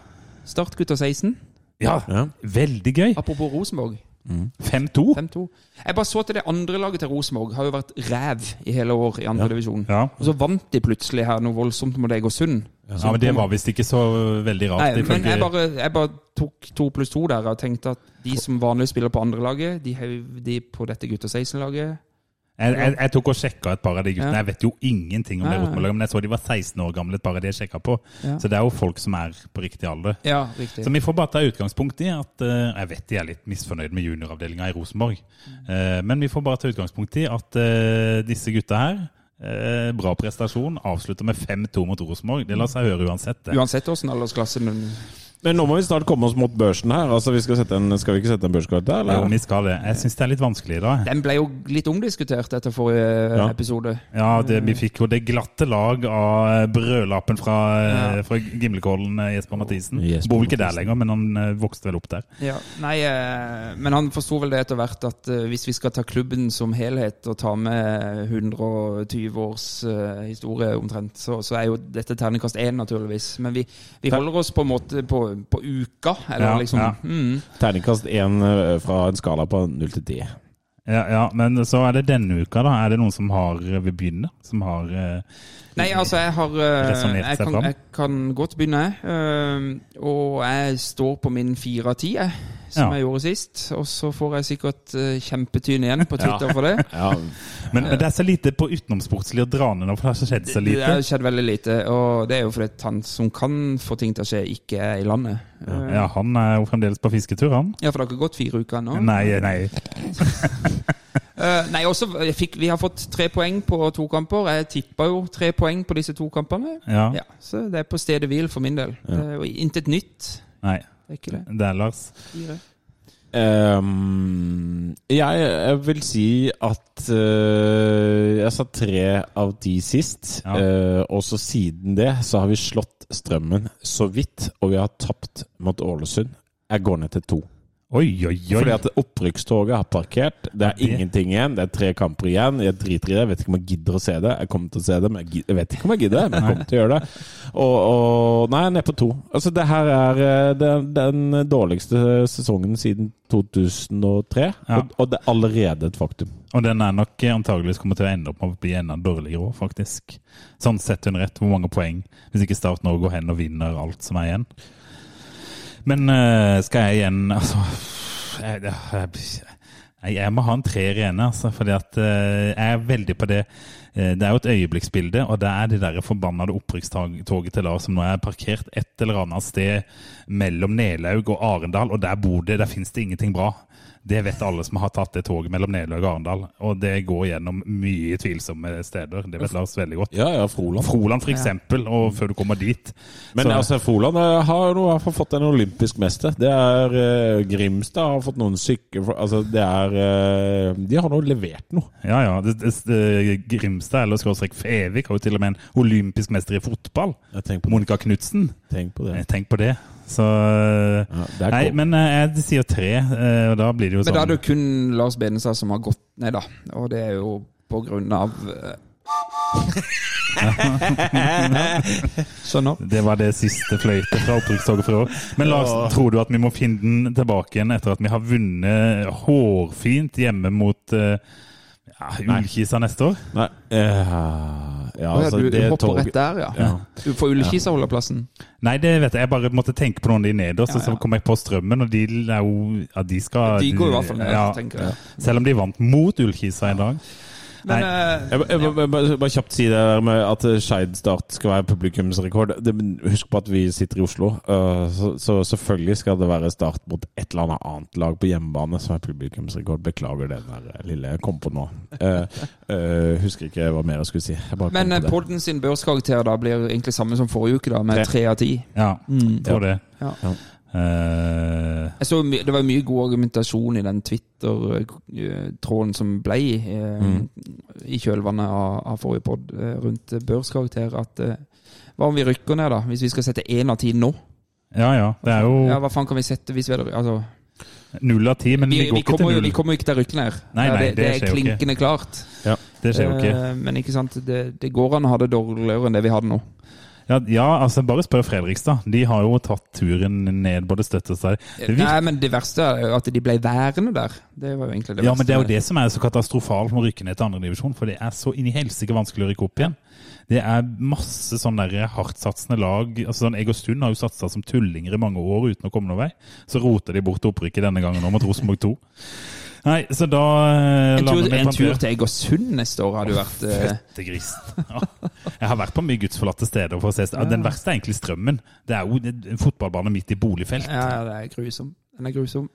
Speaker 5: Start gutter 16.
Speaker 3: ja.
Speaker 4: Ja.
Speaker 3: Veldig gøy.
Speaker 5: Apropos Rosenborg.
Speaker 3: 5-2.
Speaker 5: 5-2. Jeg bare så til det andre laget til Rosenborg har jo vært ræv i hele år i andre divisjon.
Speaker 3: Ja.
Speaker 5: Og så vant de plutselig her noe voldsomt mot Egersund.
Speaker 3: ja, men det var visst ikke så veldig
Speaker 5: Nei,
Speaker 3: rart.
Speaker 5: men jeg
Speaker 3: ifølge-
Speaker 5: bare, jeg bare tok to pluss to der og tenkte at de som vanligvis spiller på andre laget, de heiv de på dette gutter 16-laget.
Speaker 3: Jeg, jeg, jeg tok og sjekka et par av de guttene.
Speaker 5: Ja.
Speaker 3: Jeg vet jo ingenting om
Speaker 5: Ja,
Speaker 3: det
Speaker 5: ja, ja.
Speaker 3: rosenborg men jeg så de var 16 år gamle, et par av de jeg sjekka på.
Speaker 5: Ja.
Speaker 3: Så det er jo folk som er på riktig alder.
Speaker 5: Ja, riktig.
Speaker 3: Så vi får bare ta utgangspunkt i at eh, Jeg vet de er litt misfornøyd med junioravdelinga i Rosenborg,
Speaker 5: Mm.
Speaker 3: Eh, men vi får bare ta utgangspunkt i at eh, disse gutta her eh, Bra prestasjon. Avslutter med 5-2 mot Rosenborg. Det lar seg høre uansett. det.
Speaker 5: Uansett åssen aldersklasse den
Speaker 4: Men nå må vi snart komme oss mot børsen her. Altså, vi skal, sette en, skal vi ikke sette en børskart der?
Speaker 3: Jo,
Speaker 4: Eller?
Speaker 3: vi skal det. Jeg syns det er litt vanskelig i dag.
Speaker 5: Den ble jo litt omdiskutert etter forrige
Speaker 4: Ja.
Speaker 5: episode.
Speaker 3: Ja, det, Vi fikk jo det glatte lag av eh, brødlappen fra, eh,
Speaker 5: Ja.
Speaker 3: fra Gimlekollen, eh, Jesper Mathisen.
Speaker 4: Jesper
Speaker 3: Bor vel ikke der lenger, men han eh, vokste vel opp der.
Speaker 5: Ja, nei, eh, Men han forsto vel det etter hvert at eh, hvis vi skal ta klubben som helhet og ta med 120 års eh, historie omtrent, så, så er jo dette terningkast én, naturligvis. Men vi, vi holder oss på en måte på, på uka, eller
Speaker 3: Ja,
Speaker 5: liksom
Speaker 3: ja.
Speaker 5: Mm,
Speaker 4: Terningkast én eh, fra en skala på null til ti.
Speaker 3: Ja, ja, Men så er det denne uka, da. Er det noen som har eh, vil begynne? Som har eh,
Speaker 5: Nei, altså, jeg har eh,
Speaker 3: Resonert
Speaker 5: jeg
Speaker 3: seg
Speaker 5: kan,
Speaker 3: fram.
Speaker 5: jeg kan godt begynne, jeg. Eh, Og jeg står på min fire av ti, jeg, som
Speaker 3: Ja.
Speaker 5: jeg gjorde sist. Og så får jeg sikkert eh, kjempetyn igjen på Twitter for det.
Speaker 4: Ja,
Speaker 3: Men, men det er så lite på utenomsportslig å dra ned nå, for det har så skjedd så
Speaker 5: Det
Speaker 3: lite.
Speaker 5: har skjedd veldig lite, og det er jo fordi han som kan få ting til å skje, ikke er i landet. Eh,
Speaker 3: Ja, Han er jo fremdeles på fisketur, han.
Speaker 5: Ja, for det har ikke gått fire uker ennå.
Speaker 3: Nei, nei.
Speaker 5: Eh, nei, også, jeg fikk, vi har fått tre poeng på to kamper. Jeg tippa jo tre poeng på disse to kampene.
Speaker 3: Ja,
Speaker 5: Ja, så det er på stedet hvil for min del. Det er jo intet nytt.
Speaker 3: nei.
Speaker 5: Det er ikke det.
Speaker 3: Det er Lars.
Speaker 5: Fire.
Speaker 4: Ehm, jeg, jeg vil si at eh, jeg sa tre av de sist.
Speaker 3: Ja.
Speaker 4: eh, og så siden det så har vi slått strømmen så vidt, og vi har tapt mot Ålesund. Jeg går ned til to.
Speaker 3: Oi, oi, oi.
Speaker 4: Fordi at opprykkstoget har parkert. Det er
Speaker 3: det-
Speaker 4: ingenting igjen. Det er tre kamper igjen. Jeg driter i det. Jeg vet ikke om jeg gidder å se det. Jeg kommer til å se det, men jeg, gid- jeg vet ikke om jeg gidder. Men jeg kommer til å gjøre det. Og, og Nei, jeg er nede på to. Altså, det her er eh, den, den dårligste sesongen siden 2003.
Speaker 3: Ja.
Speaker 4: Og, og det er allerede et faktum.
Speaker 3: Og den er nok eh, antageligvis kommer til å ende opp med å bli enda dårligere òg, faktisk. Sånn sett under ett, hvor mange poeng. Hvis ikke Start nå går hen og vinner alt som er igjen. Men eh, skal jeg igjen Altså Jeg, jeg, jeg- jeg må ha en treer igjen, altså. Fordi at eh, jeg er veldig på det eh, Det er jo et øyeblikksbilde, og det er det der forbannede opprykkstoget til Lars som nå er parkert et eller annet sted mellom Nelaug og Arendal, og der bor det Der fins det ingenting bra. Det vet alle som har tatt det toget mellom Nelaug og Arendal. Og det går gjennom mye tvilsomme steder. Det vet Lars veldig godt.
Speaker 4: Ja, ja, Froland.
Speaker 3: Froland, for eksempel, og før du kommer dit.
Speaker 4: Men
Speaker 3: så,
Speaker 4: altså, Froland eh, har jo i hvert fall fått en olympisk mester. Det er eh, Grimstad har fått noen syke... Altså, det er eh, De har nå levert noe.
Speaker 3: ja, ja, det, det, det, Grimstad eller skråstrek Fevik har jo til og med en olympisk mester i fotball.
Speaker 4: Jeg tenker på,
Speaker 3: Monica Knutsen.
Speaker 4: tenk på det.
Speaker 3: Tenk på det. Så
Speaker 4: Ja, det er
Speaker 3: Nei,
Speaker 4: cool.
Speaker 3: men eh, jeg sier tre, eh, og da blir det jo
Speaker 5: Men da er
Speaker 3: sånn.
Speaker 5: det jo kun Lars Benestad som har gått ned, da. Og det er jo på grunn av eh, Skjønner.
Speaker 3: Det var det siste fløytet fra opprykkstoget for i år. Men Lars, tror du at vi må finne den tilbake igjen etter at vi har vunnet hårfint hjemme mot eh, ja, Ullkisa neste år?
Speaker 4: Nei, eh, ja,
Speaker 5: Å ja,
Speaker 4: altså,
Speaker 5: du, du
Speaker 4: det
Speaker 5: hopper
Speaker 4: toget-
Speaker 5: rett der, ja.
Speaker 4: Ja.
Speaker 5: Du får Ullkisa holder plassen.
Speaker 3: Nei, det vet jeg. Jeg bare måtte tenke på noen av de nederst, og
Speaker 5: Ja,
Speaker 3: så
Speaker 5: ja.
Speaker 3: kom jeg på strømmen, og de er jo Ja, de skal
Speaker 5: De går i hvert fall ned,
Speaker 3: ja.
Speaker 5: tenker jeg.
Speaker 3: Selv om de vant mot Ullkisa i dag. Nei.
Speaker 5: Men eh,
Speaker 4: Jeg, jeg, jeg, bare, bare kjapt si det der med at eh, Skeid Start skal være publikumsrekord. Det, men husk på at vi sitter i Oslo, øh, så, så selvfølgelig skal det være Start mot et eller annet annet lag på hjemmebane som er publikumsrekord. Beklager den der eh, lille jeg kom på nå. Eh, eh, husker ikke hva mer jeg skulle si. Jeg bare kom
Speaker 5: Men
Speaker 4: på
Speaker 5: eh,
Speaker 4: det.
Speaker 5: podden sin børskarakter da blir egentlig samme som forrige uke, da, med
Speaker 4: Tre.
Speaker 5: tre av ti.
Speaker 3: Ja, tror det.
Speaker 5: Mm. Ja.
Speaker 3: Eh,
Speaker 5: Jeg så my det var mye god argumentasjon i den eh, Twitter-tråden som ble i, eh,
Speaker 3: Mm.
Speaker 5: i kjølvannet av, av forrige pod eh, rundt eh, børskarakter, at eh, hva om vi rykker ned, da? Hvis vi skal sette én av ti nå?
Speaker 3: ja ja, det er
Speaker 5: Ja,
Speaker 3: jo
Speaker 5: Hva faen kan vi sette hvis vi hadde altså,
Speaker 3: null av ti, men
Speaker 5: vi,
Speaker 3: vi går
Speaker 5: vi,
Speaker 3: ikke til
Speaker 5: kommer, jo-
Speaker 3: null.
Speaker 5: vi kommer jo ikke til å rykke ned.
Speaker 3: Nei,
Speaker 5: Ja,
Speaker 3: nei,
Speaker 5: det, det
Speaker 3: det
Speaker 5: er
Speaker 3: skjer jo ikke.
Speaker 5: klinkende klart.
Speaker 3: Det skjer jo ikke.
Speaker 5: Eh, Men ikke sant, det, det går an å ha det dårligere enn det vi har det nå.
Speaker 3: Ja, ja, altså, bare spør Fredrikstad. De har jo tatt turen ned både støtt og stadig. Det virker-
Speaker 5: Nei, men det verste er jo at de ble værende der. Det var jo egentlig det
Speaker 3: Ja,
Speaker 5: verste.
Speaker 3: men det er jo det som er så katastrofalt med å rykke ned til andredivisjon, for det er så inn i helsike vanskelig å rykke opp igjen. Det er masse sånne der hardtsatsende lag. altså sånn Egersund har jo satsa som tullinger i mange år uten å komme noen vei. Så roter de bort opprykket denne gangen nå mot Rosenborg 2. Nei, så da eh,
Speaker 5: En
Speaker 3: lander
Speaker 5: tur,
Speaker 3: vi
Speaker 5: en
Speaker 3: på
Speaker 5: tur til Egersund neste år hadde jo vært eh,
Speaker 3: Fødte gris. Ja. Jeg har vært på mye gudsforlatte steder for å se ja. Den verste er egentlig strømmen. Det er jo en fotballbane midt i boligfelt.
Speaker 5: Ja, ja, det er grusom. Den er grusom.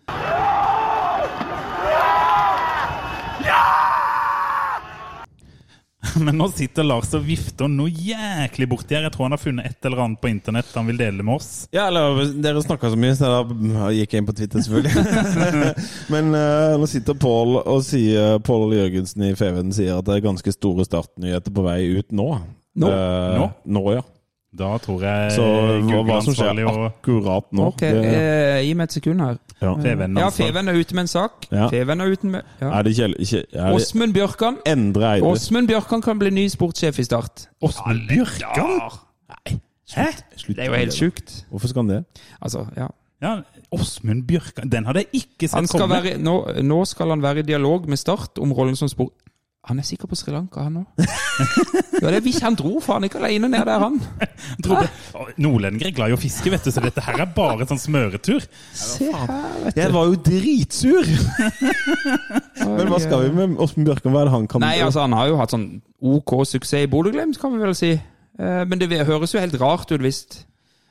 Speaker 3: Men nå sitter Lars og vifter noe jæklig borti her. Jeg tror han har funnet et eller annet på internett han vil dele med oss.
Speaker 4: Ja, eller dere snakka så mye, så da gikk jeg inn på Twitter, selvfølgelig. Men eh, nå sitter Pål og sier Pål Jørgensen i Feven sier at det er ganske store startnyheter på vei ut nå.
Speaker 5: Nå? Eh,
Speaker 4: Eh,
Speaker 3: Nå?
Speaker 4: nå, ja.
Speaker 3: Da tror jeg
Speaker 4: Så hva, hva som skjer
Speaker 3: Google-ansvarlig og
Speaker 4: akkurat nå
Speaker 5: Ok,
Speaker 4: det,
Speaker 5: eh, gi meg et sekund her.
Speaker 4: ja.
Speaker 3: Feven
Speaker 5: Ja,
Speaker 3: ansvarlig.
Speaker 5: Feven er ute med en sak.
Speaker 4: Ja.
Speaker 5: Feven er ute med ja.
Speaker 4: Er det Kjell ikke, er det
Speaker 5: Åsmund Bjørkan.
Speaker 4: Endre Eide?
Speaker 5: Åsmund Bjørkan kan bli ny sportssjef i Start.
Speaker 3: Åsmund Bjørkan? Hæ?
Speaker 4: Slutt
Speaker 5: Det er jo
Speaker 4: med
Speaker 5: helt sjukt.
Speaker 4: Hvorfor skal han det?
Speaker 5: Altså, ja.
Speaker 3: Ja, Åsmund Bjørkan Den hadde jeg ikke
Speaker 5: Han
Speaker 3: sett
Speaker 5: skal
Speaker 3: komme.
Speaker 5: være, nå, nå skal han være i dialog med Start om rollen som spor... Han er sikkert på Sri Lanka, han òg. Ja, det er hvis han dro, for han er ikke alene ned der, han.
Speaker 3: Trodde- Å, Nordlendinger er glad i å fiske, vet du, så dette her er bare en sånn smøretur.
Speaker 5: Se her, vet
Speaker 4: Jeg var jo dritsur!
Speaker 5: du.
Speaker 4: Men hva skal vi med Åsmund Bjørkan? Hva er det han kan
Speaker 5: Nei, altså, han har jo hatt sånn OK suksess i Bodø-Glimt, kan vi vel si. Eh, Men det høres jo helt rart ut hvis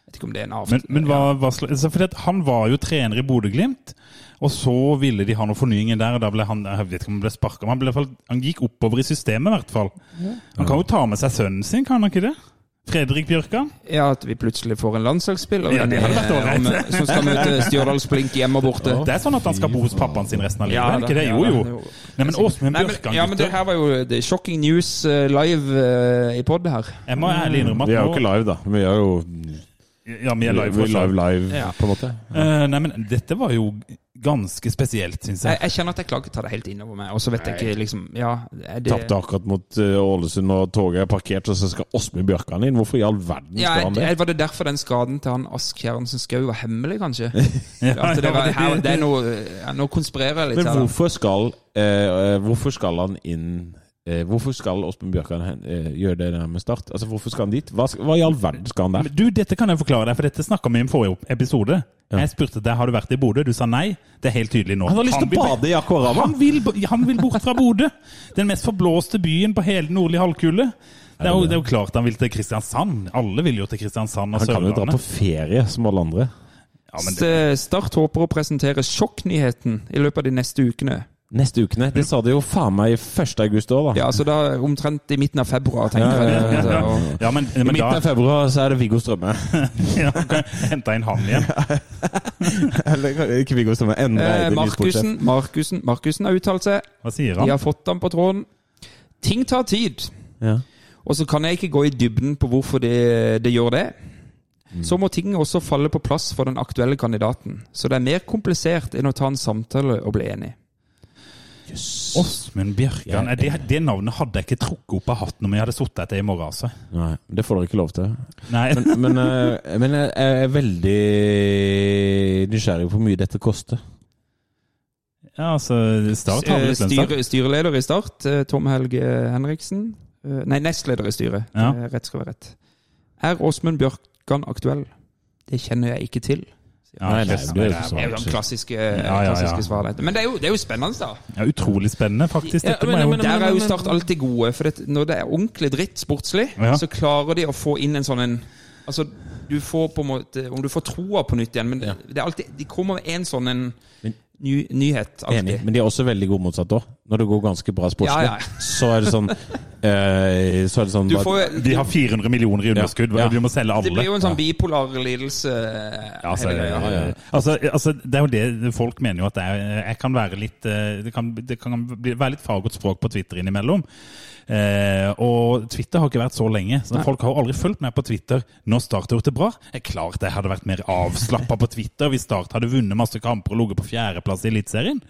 Speaker 5: Vet ikke om det er en avtale.
Speaker 3: Men, men hva, hva sl- altså, fordi at han var jo trener i Bodø-Glimt, og så ville de ha noen fornyinger der, og da ble han jeg vet ikke om han ble sparket, men han, ble, i hvert fall- han gikk oppover i systemet i hvert fall. Han kan jo ta med seg sønnen sin, kan han ikke det? Fredrik Bjørkan?
Speaker 5: Ja, At vi plutselig får en landslagsspiller
Speaker 3: Ja, det hadde vært
Speaker 5: eh, om-
Speaker 3: ålreit.
Speaker 5: som skal møte Stjørdals-Blink hjemme og borte.
Speaker 3: Det er sånn at han skal bo hos pappaen sin resten av livet,
Speaker 5: Ja,
Speaker 3: er det ikke
Speaker 5: da,
Speaker 3: det?
Speaker 5: ja,
Speaker 3: Jo,
Speaker 5: da,
Speaker 3: jo.
Speaker 5: jo.
Speaker 3: Nei, men Åsmund
Speaker 5: Altså, Nei, men,
Speaker 3: Bjørkan,
Speaker 5: ja, men det
Speaker 3: gutter.
Speaker 5: her var jo det, er shocking news eh, live eh, i pod her.
Speaker 3: Jeg må ærlig innrømme
Speaker 4: Vi er jo
Speaker 3: at
Speaker 4: ikke
Speaker 3: nå
Speaker 4: live, da. Vi er jo
Speaker 3: Ja, vi er live.
Speaker 4: vi er
Speaker 3: fortsatt.
Speaker 4: live, live
Speaker 5: Ja.
Speaker 4: på en måte.
Speaker 3: Eh, nei, men dette var jo ganske spesielt, syns
Speaker 5: Jeg,
Speaker 3: jeg.
Speaker 5: jeg kjenner at jeg klarer ikke å ta det helt innover meg. Og så vet jeg ikke liksom Ja, er det
Speaker 4: Tapte akkurat mot eh, Ålesund, og toget er parkert, og så skal Åsmund Bjørkan inn. Hvorfor i all verden
Speaker 5: ja,
Speaker 4: skal han det?
Speaker 5: jeg- Var det derfor den skaden til han Ask Kjerransen Skau var hemmelig, kanskje?
Speaker 3: Ja,
Speaker 5: At altså, det, var,
Speaker 3: ja,
Speaker 5: her, det er noe, ja, Nå konspirerer jeg litt
Speaker 4: Men
Speaker 5: her. da.
Speaker 4: hvorfor skal, eh, eh, hvorfor skal han inn eh, Hvorfor skal Åsmund Bjørkan hen- eh, gjøre det der med Start? Altså, Hvorfor skal han dit? Hva, skal, hva i all verden skal han der?
Speaker 3: Men Du, dette kan jeg forklare deg, for dette snakka vi om i forrige episode.
Speaker 4: Ja.
Speaker 3: Jeg spurte deg har du vært i Bodø. Du sa nei. Det er helt tydelig nå.
Speaker 4: Han har lyst til å
Speaker 3: vil-
Speaker 4: bade i Aquarama!
Speaker 3: Han vil, b- han vil bort fra Bodø! Den mest forblåste byen på hele nordlige halvkule. Det er, jo, det er jo klart han vil til Kristiansand. Alle vil jo til Kristiansand og
Speaker 4: Han kan jo dra på eh,
Speaker 3: Sørlandet.
Speaker 4: ferie som alle andre.
Speaker 3: Ja, men det,
Speaker 5: S- Eh, Start håper å presentere sjokknyheten i løpet av de neste ukene.
Speaker 4: Neste ukene. Det sa de jo faen meg 1. august òg, da.
Speaker 5: Ja, altså da Omtrent i midten av februar, tenker
Speaker 4: Ja, ja, ja,
Speaker 5: jeg.
Speaker 4: ja, ja.
Speaker 5: Og-
Speaker 3: ja, men,
Speaker 4: altså. I
Speaker 3: men da
Speaker 4: midten av februar så er det Viggo Strømme.
Speaker 3: ja, kan jeg Hente inn han igjen.
Speaker 4: Eller ikke Viggo Strømme, enda
Speaker 5: Eh,
Speaker 4: en ny sportssjef.
Speaker 5: Markussen, Markussen, Markussen har uttalt seg.
Speaker 3: Hva sier
Speaker 5: De
Speaker 3: han?
Speaker 5: har fått ham på tråden. Ting tar tid.
Speaker 4: Ja.
Speaker 5: Og så kan jeg ikke gå i dybden på hvorfor det, det gjør det.
Speaker 4: Mm.
Speaker 5: Så må ting også falle på plass for den aktuelle kandidaten. Så det er mer komplisert enn å ta en samtale og bli enig.
Speaker 3: Åsmund Bjørkan. Det, det navnet hadde jeg ikke trukket opp av hatten om jeg hadde sittet etter i morgen. Altså.
Speaker 4: Nei, det får dere ikke lov til.
Speaker 3: Nei,
Speaker 4: Men, men, eh, men jeg jeg er veldig nysgjerrig på hvor mye dette koster.
Speaker 3: ja, altså, Start har
Speaker 5: Eh,
Speaker 3: vel et lønnstak.
Speaker 5: Styre, styreleder i Start, eh, Tom Helge Henriksen. Eh, Nei, nestleder i styret.
Speaker 3: Ja.
Speaker 5: Eh, Rett skal være rett. Er Åsmund Bjørkan aktuell? Det kjenner jeg ikke til.
Speaker 3: Ja,
Speaker 4: Nei, nei,
Speaker 3: kjeft,
Speaker 4: det er jo
Speaker 3: det
Speaker 4: ikke
Speaker 3: er
Speaker 5: Det er jo
Speaker 4: sant.
Speaker 5: den klassiske,
Speaker 3: ja, ja.
Speaker 5: klassiske svaret. dette. Men det er jo, det er jo spennende, da.
Speaker 3: Ja, utrolig spennende, faktisk.
Speaker 4: Ja,
Speaker 3: Dette
Speaker 4: men-
Speaker 3: må
Speaker 4: men-
Speaker 3: jeg
Speaker 5: Der er jo
Speaker 4: men-
Speaker 5: Start alltid gode. For det, når det er ordentlig dritt sportslig,
Speaker 3: Ja.
Speaker 5: så klarer de å få inn en sånn en Altså, du får på en måte Om du får troa på nytt igjen, men
Speaker 4: Ja.
Speaker 5: det er alltid, de kommer med en sånn en
Speaker 4: Men-
Speaker 5: ny, nyhet.
Speaker 4: Enig.
Speaker 5: Alltid.
Speaker 4: Men de er også veldig gode motsatt òg. Når det går ganske bra sportslig,
Speaker 5: Ja, ja.
Speaker 4: så er det sånn eh, Så er det sånn
Speaker 5: Du
Speaker 4: bare-
Speaker 5: får,
Speaker 3: jo- De har 400 millioner i underskudd,
Speaker 4: Ja.
Speaker 3: og de må selge alle.
Speaker 5: det blir jo en sånn bipolar lidelse.
Speaker 3: Ja, altså,
Speaker 5: hele greia.
Speaker 4: ja, ja.
Speaker 3: Altså, altså, det er jo det folk mener jo at jeg, jeg kan være litt eh, Det kan, det kan bli, være litt fagert språk på Twitter innimellom. Eh, og Twitter har ikke vært så lenge, så folk har jo aldri fulgt med på Twitter når Start har gjort det bra. Det er klart jeg hadde vært mer avslappa på Twitter hvis Start hadde vunnet masse kamper og ligget på fjerdeplass i Eliteserien.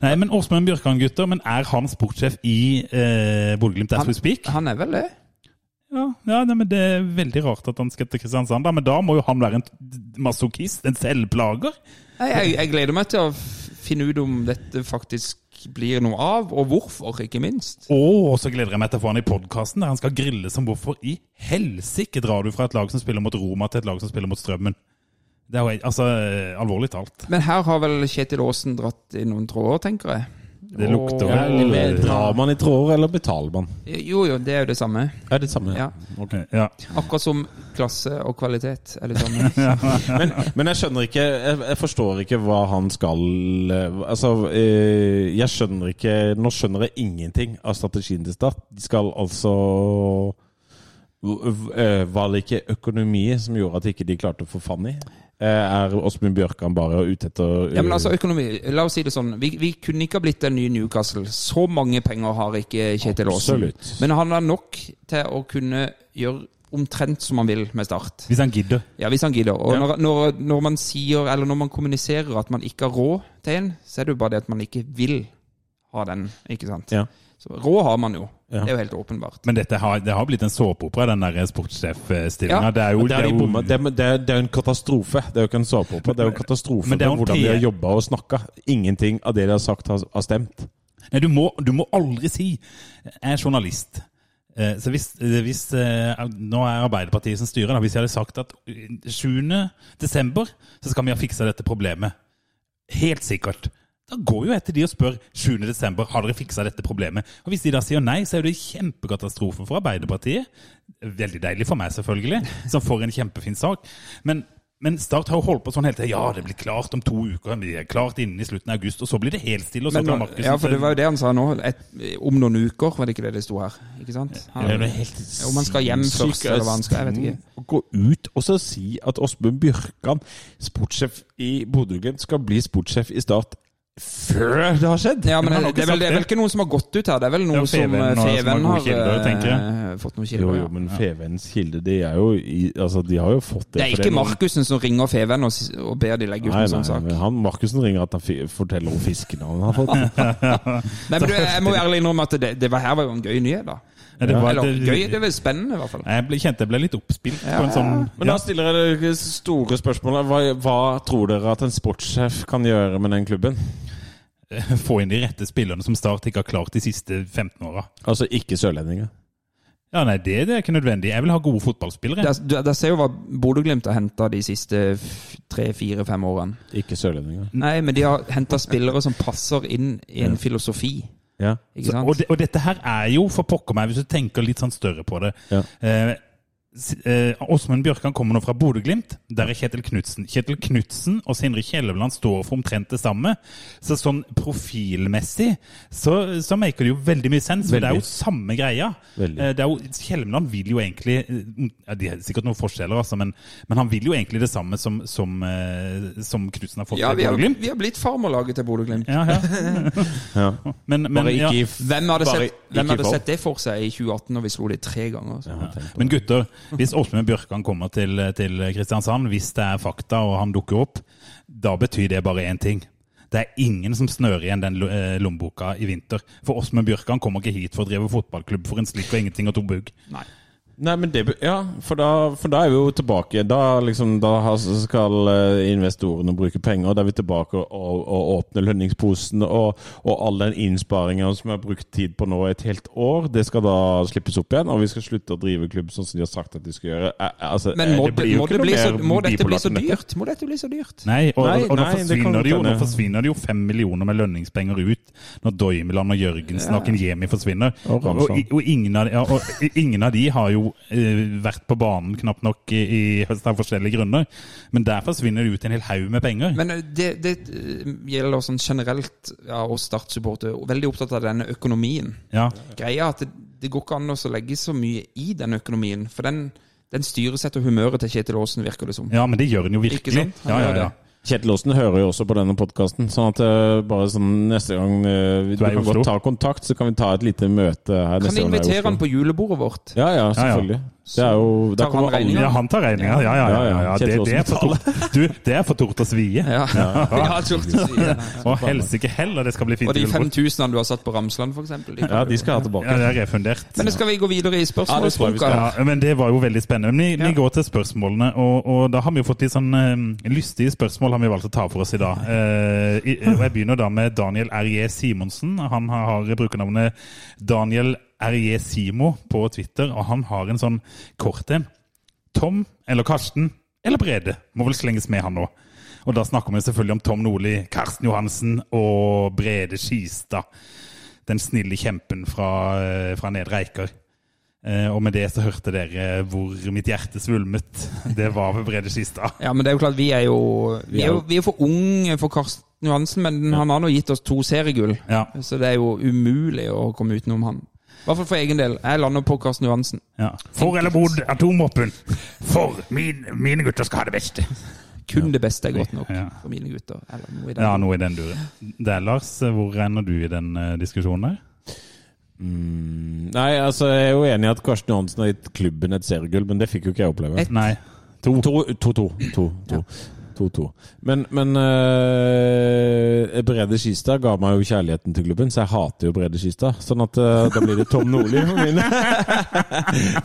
Speaker 3: Nei, men Åsmund Bjørkan, gutter, men er han sportssjef i eh, Bodø-Glimt as we speak?
Speaker 5: Han er vel det.
Speaker 3: Ja, ja nei, men Det er veldig rart at han skal til Kristiansand, da, men da må jo han være en masochist, en selvplager.
Speaker 5: Nei, Jeg, jeg gleder meg til å f- finne ut om dette faktisk blir noe av, og hvorfor, ikke minst.
Speaker 3: Og så gleder jeg meg til å få han i podkasten, der han skal grille som hvorfor i helsike drar du fra et lag som spiller mot Roma, til et lag som spiller mot Strømmen. Det er jo helt- altså, eh, Alvorlig talt.
Speaker 5: Men her har vel Kjetil Aasen dratt i noen tråder, tenker jeg.
Speaker 3: Det lukter
Speaker 5: Åh.
Speaker 3: vel
Speaker 4: Men Drar man i tråder, eller betaler man?
Speaker 5: Jo, jo, det er jo det samme.
Speaker 4: Er det samme?
Speaker 5: Ja.
Speaker 3: Ja.
Speaker 5: Akkurat som klasse og kvalitet er det samme.
Speaker 4: Men, men jeg skjønner ikke jeg, jeg forstår ikke hva han skal eh, Altså, eh, jeg skjønner ikke Nå skjønner jeg ingenting av strategien til Start. De skal altså v- eh, Var det ikke økonomi som gjorde at ikke de klarte å få fann i? Eh, Er Åsmund Bjørkan bare ute etter eh,
Speaker 5: Ja, men altså økonomi, La oss si det sånn. Vi, vi kunne ikke ha blitt en ny Newcastle. Så mange penger har ikke Kjetil Aasen.
Speaker 4: Absolutt.
Speaker 5: Men han har nok til å kunne gjøre omtrent som han vil med Start.
Speaker 3: Hvis han gidder.
Speaker 5: Ja, Hvis han gidder. Og
Speaker 4: Ja.
Speaker 5: når, når, når man sier, eller når man kommuniserer at man ikke har råd til en, så er det jo bare det at man ikke vil ha den. ikke sant?
Speaker 4: Ja.
Speaker 5: Så Råd har man jo.
Speaker 4: Ja.
Speaker 5: Det er jo helt åpenbart.
Speaker 3: Men dette har, det har blitt en såpeopera, den der eh, sportssjefstillinga.
Speaker 5: Ja,
Speaker 3: det er jo,
Speaker 4: Det er, de
Speaker 3: jo-
Speaker 4: bomma- det, er, det, er, det er jo en katastrofe. Det er jo ikke en såpeopera. Det er jo en katastrofe
Speaker 3: Men det er jo
Speaker 4: med
Speaker 3: en
Speaker 4: hvordan de har
Speaker 3: PR.
Speaker 4: jobba og snakka. Ingenting av det de har sagt, har, har stemt.
Speaker 3: Nei, du må, du må aldri si Jeg er journalist. Eh, Så hvis, eh, hvis eh, Nå er Arbeiderpartiet som styrer. Da. Hvis jeg hadde sagt at eh, 7. desember så skal vi ha fiksa dette problemet. Helt sikkert. Da går jo jeg til de og spør 7. desember, har dere fiksa dette problemet. Og Hvis de da sier nei, så er det kjempekatastrofe for Arbeiderpartiet. Veldig deilig for meg, selvfølgelig, som får en kjempefin sak. Men, men Start har jo holdt på sånn hele tida. Ja, det blir klart om to uker. Vi er klart innen i slutten av august. Og så blir det helt stille. Og så
Speaker 5: Men,
Speaker 3: kan Markussen
Speaker 5: ja, for Det var jo det han sa nå. Et, om noen uker, var det ikke det det sto her? Ikke sant?
Speaker 3: Det er
Speaker 5: Han,
Speaker 3: jo helt
Speaker 5: om han skal hjem først, eller hva han skal. Jeg vet
Speaker 4: Å
Speaker 5: ikke.
Speaker 4: gå ut og så si at Åsmund Bjørkan, sportssjef i Bodø-Glimt, skal bli sportssjef i Start før det har skjedd!
Speaker 5: Ja, men
Speaker 3: Men han har ikke
Speaker 5: det, det, er vel,
Speaker 3: sagt
Speaker 5: det er vel ikke noen som har gått ut her. Det er vel noen
Speaker 3: Det er
Speaker 5: som
Speaker 3: Feven
Speaker 5: eh,
Speaker 3: og- som har
Speaker 5: Feven
Speaker 3: gode
Speaker 5: har
Speaker 3: kilder, tenker
Speaker 5: eh, fått noen
Speaker 4: Jo,
Speaker 5: kilder.
Speaker 4: jo,
Speaker 5: ja.
Speaker 4: men Fevens kilde, de er jo i Altså, de har jo fått det.
Speaker 5: Det er
Speaker 4: for
Speaker 5: ikke
Speaker 4: noen-
Speaker 5: Markussen som ringer Feven og, s- og ber de legge ut
Speaker 4: Nei,
Speaker 5: en
Speaker 4: nei,
Speaker 5: sånn sak.
Speaker 4: men han Markussen ringer at han fi- forteller om fiskene han har fått.
Speaker 5: Nei, men du, Jeg må ærlig innrømme at det, det var, her var jo en gøy nyhet, da.
Speaker 3: Ja, det var,
Speaker 5: Eller gøy, det
Speaker 3: det,
Speaker 5: var spennende i hvert fall.
Speaker 3: jeg ble, kjente jeg ble litt oppspilt på en sånn
Speaker 4: Men da stiller jeg det store spørsmålet. Hva, hva tror dere at en sportssjef kan gjøre med den klubben?
Speaker 3: eh, få inn de rette spillerne som Start ikke har klart de siste 15 åra.
Speaker 4: Altså ikke sørlendinger.
Speaker 3: Ja, nei, det, det er ikke nødvendig. Jeg vil ha gode fotballspillere.
Speaker 5: Der, der, der ser jo hva Bodø-Glimt har henta de siste tre-fire-fem årene.
Speaker 4: Ikke sørlendinger.
Speaker 5: Nei, men de har henta spillere som passer inn i en filosofi.
Speaker 4: Ja.
Speaker 5: Ikke sant?
Speaker 3: og, det- og dette her er jo for pokker meg, hvis du tenker litt sånn større på det.
Speaker 4: Ja.
Speaker 3: Eh, s- eh, Åsmund Bjørkan kommer nå fra Bodø-Glimt. Der er Kjetil Knutsen. Kjetil Knutsen og Sindre Kjelleland står for omtrent det samme. Så sånn profilmessig så, så maker det jo veldig mye sens. For det er jo samme greia.
Speaker 4: Veldig.
Speaker 3: Eh, Det er jo, Kjelleland vil jo egentlig eh, ja, De har sikkert noen forskjeller, altså, men, men han vil jo egentlig det samme som, som, eh, som Knutsen har fått
Speaker 5: Ja,
Speaker 3: til
Speaker 5: vi har,
Speaker 3: Bodø-Glimt.
Speaker 5: vi har blitt farmerlaget til Bodø-Glimt.
Speaker 3: Ja, ja.
Speaker 4: Ja.
Speaker 3: Men, men,
Speaker 4: Bare ikke
Speaker 3: ja.
Speaker 4: i
Speaker 5: Hvem hadde,
Speaker 4: Bare
Speaker 5: sett, hvem
Speaker 4: ikke
Speaker 5: hadde
Speaker 4: fall.
Speaker 5: sett det for seg i 2018 når vi slo de tre ganger? Så.
Speaker 3: Men gutter, hvis Åsmund Bjørkan kommer til, til Kristiansand, hvis det er fakta og han dukker opp, da betyr det bare én ting. Det er ingen som snører igjen den lo- eh, lommeboka i vinter. For Åsmund Bjørkan kommer ikke hit for å drive fotballklubb for en slikk og ingenting og to bugg.
Speaker 5: Nei.
Speaker 4: Nei, men det, be- ja, for da, for da er vi jo tilbake. Da, liksom, da har- skal eh, investorene bruke penger. Da er vi tilbake og, og, og åpner lønningsposen. Og, og all den innsparingen som vi har brukt tid på nå et helt år, det skal da slippes opp igjen. Og vi skal slutte å drive klubb sånn som de har sagt at de skal gjøre. Eh, Altså,
Speaker 5: Men
Speaker 4: eh,
Speaker 5: må,
Speaker 4: det blir jo
Speaker 5: må,
Speaker 4: ikke
Speaker 5: det
Speaker 4: noe
Speaker 5: bli så,
Speaker 4: mer
Speaker 5: må dette bli
Speaker 4: bipolært
Speaker 5: så
Speaker 4: enn dette.
Speaker 5: dyrt? Må dette bli så dyrt?
Speaker 3: Nei, og,
Speaker 4: Nei,
Speaker 3: og, nå,
Speaker 4: nei, det kan
Speaker 3: forsvinner
Speaker 4: godt
Speaker 3: det jo, nå
Speaker 4: hende.
Speaker 3: forsvinner det jo fem millioner med lønningspenger ut når Doimiland og Jørgensen og Kenyemi forsvinner.
Speaker 4: Og Ramsland.
Speaker 3: og, i- og, ingen av, de- ja, og i- ingen av de har jo eh, vært på banen knapt nok i, i høst av forskjellige grunner. Men der forsvinner det ut en hel haug med penger.
Speaker 5: Men eh, det, det eh, gjelder sånn generelt ja, oss Start-supportere. og Veldig opptatt av denne økonomien.
Speaker 3: ja.
Speaker 5: Greia er at det, det går ikke an å så legge så mye i den økonomien. For den, den styres etter humøret til Kjetil Aasen, virker det som.
Speaker 3: ja, men det gjør den jo
Speaker 5: Ikke
Speaker 3: virkelig.
Speaker 5: sant? Han
Speaker 3: Ja, ja,
Speaker 5: gjør
Speaker 3: ja.
Speaker 5: det.
Speaker 4: Kjetil Aasen hører jo også på denne podkasten, sånn at eh, bare sånn neste gang eh, vi-
Speaker 3: Du
Speaker 4: du,
Speaker 3: er i
Speaker 4: kan
Speaker 3: Oslo.
Speaker 4: godt ta kontakt, så kan vi ta et lite møte her
Speaker 5: Kan
Speaker 4: neste gang. du er i
Speaker 5: invitere
Speaker 4: Oslo.
Speaker 5: han på julebordet vårt.
Speaker 4: Ja, ja, selvfølgelig. Det er jo
Speaker 5: tar
Speaker 4: Da
Speaker 5: han
Speaker 4: kommer alle
Speaker 5: regningen.
Speaker 3: Ja, han tar regninga. Ja, ja, ja. ja,
Speaker 4: Ja, ja.
Speaker 3: ja. Det, det, er for tort, du, det er for tort å svie.
Speaker 5: Ja. Ja, sort å si det.
Speaker 3: Å, helsike heller, det skal bli fint.
Speaker 5: Og de
Speaker 3: julebord.
Speaker 5: 5000 du har satt på Ramsland, for eksempel. de-
Speaker 4: Ja, de skal ha
Speaker 3: Ja,
Speaker 4: tilbake.
Speaker 3: det er refundert.
Speaker 5: Men skal vi gå videre i
Speaker 4: Ja, det tror jeg vi
Speaker 5: spørsmålspunkene?
Speaker 4: skal.
Speaker 3: Ja, men Det var jo veldig spennende. Men vi, vi går til spørsmålene, og, og da har vi jo fått litt sånn eh, lystige spørsmål har vi valgt å ta for oss i dag. Eh, i, og Jeg begynner da med Daniel R.J. Simonsen. Han har, har brukernavnet Daniel R.J. Simo på Twitter, og han har en sånn kort en. Tom eller Karsten eller Brede må vel slenges med, han nå. Og da snakker vi selvfølgelig om Tom Nordli, Karsten Johansen og Brede Skistad. Den snille kjempen fra, eh, fra Nedre Eiker. Eh, og med det så hørte dere hvor mitt hjerte svulmet. Det var ved Brede Skistad.
Speaker 5: Ja, men det er jo klart, vi er jo Vi er, jo, vi er for unge for Karsten Johansen, men han har nå gitt oss to seriegull.
Speaker 3: Ja.
Speaker 5: Så det er jo umulig å komme utenom han. I hvert fall for egen del. Jeg lander på Karsten Johansen.
Speaker 3: Ja. For eller mot atomvåpen? For min, mine gutter skal ha det beste!
Speaker 5: Kun det beste er godt nok
Speaker 3: Ja.
Speaker 5: for mine gutter. Eller noe i den.
Speaker 3: Ja, noe i den duren. Det er Lars, hvor ender du i den eh, diskusjonen der?
Speaker 4: Mm, Nei, altså, jeg er jo enig i at Karsten Johansen har gitt klubben et seriegull, men det fikk jo ikke jeg oppleve.
Speaker 5: Et-
Speaker 3: Nei.
Speaker 4: To. To, to, to, to, to. To, to. Men, men eh, Brede Skistad ga meg jo kjærligheten til klubben, så jeg hater jo Brede Skistad. Sånn at eh, da blir det Tom Nordli for min.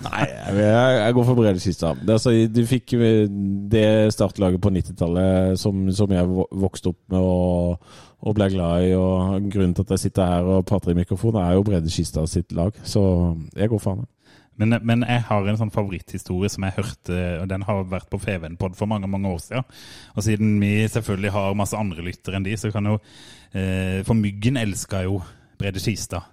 Speaker 4: Nei, jeg, jeg går for Brede Skistad. Det, er altså, du fikk eh, det startlaget på 90-tallet som, som jeg vo- vokste opp med og, og ble glad i. Og grunnen til at jeg sitter her og prater i mikrofonen, er jo Brede Skistad sitt lag. Så jeg går for han.
Speaker 3: Men, men jeg har en sånn favoritthistorie som jeg hørte, og den har vært på FVN-pod for mange mange år siden. Og siden vi selvfølgelig har masse andre lyttere enn de, så kan jo eh, For Myggen elska jo Brede Skistad.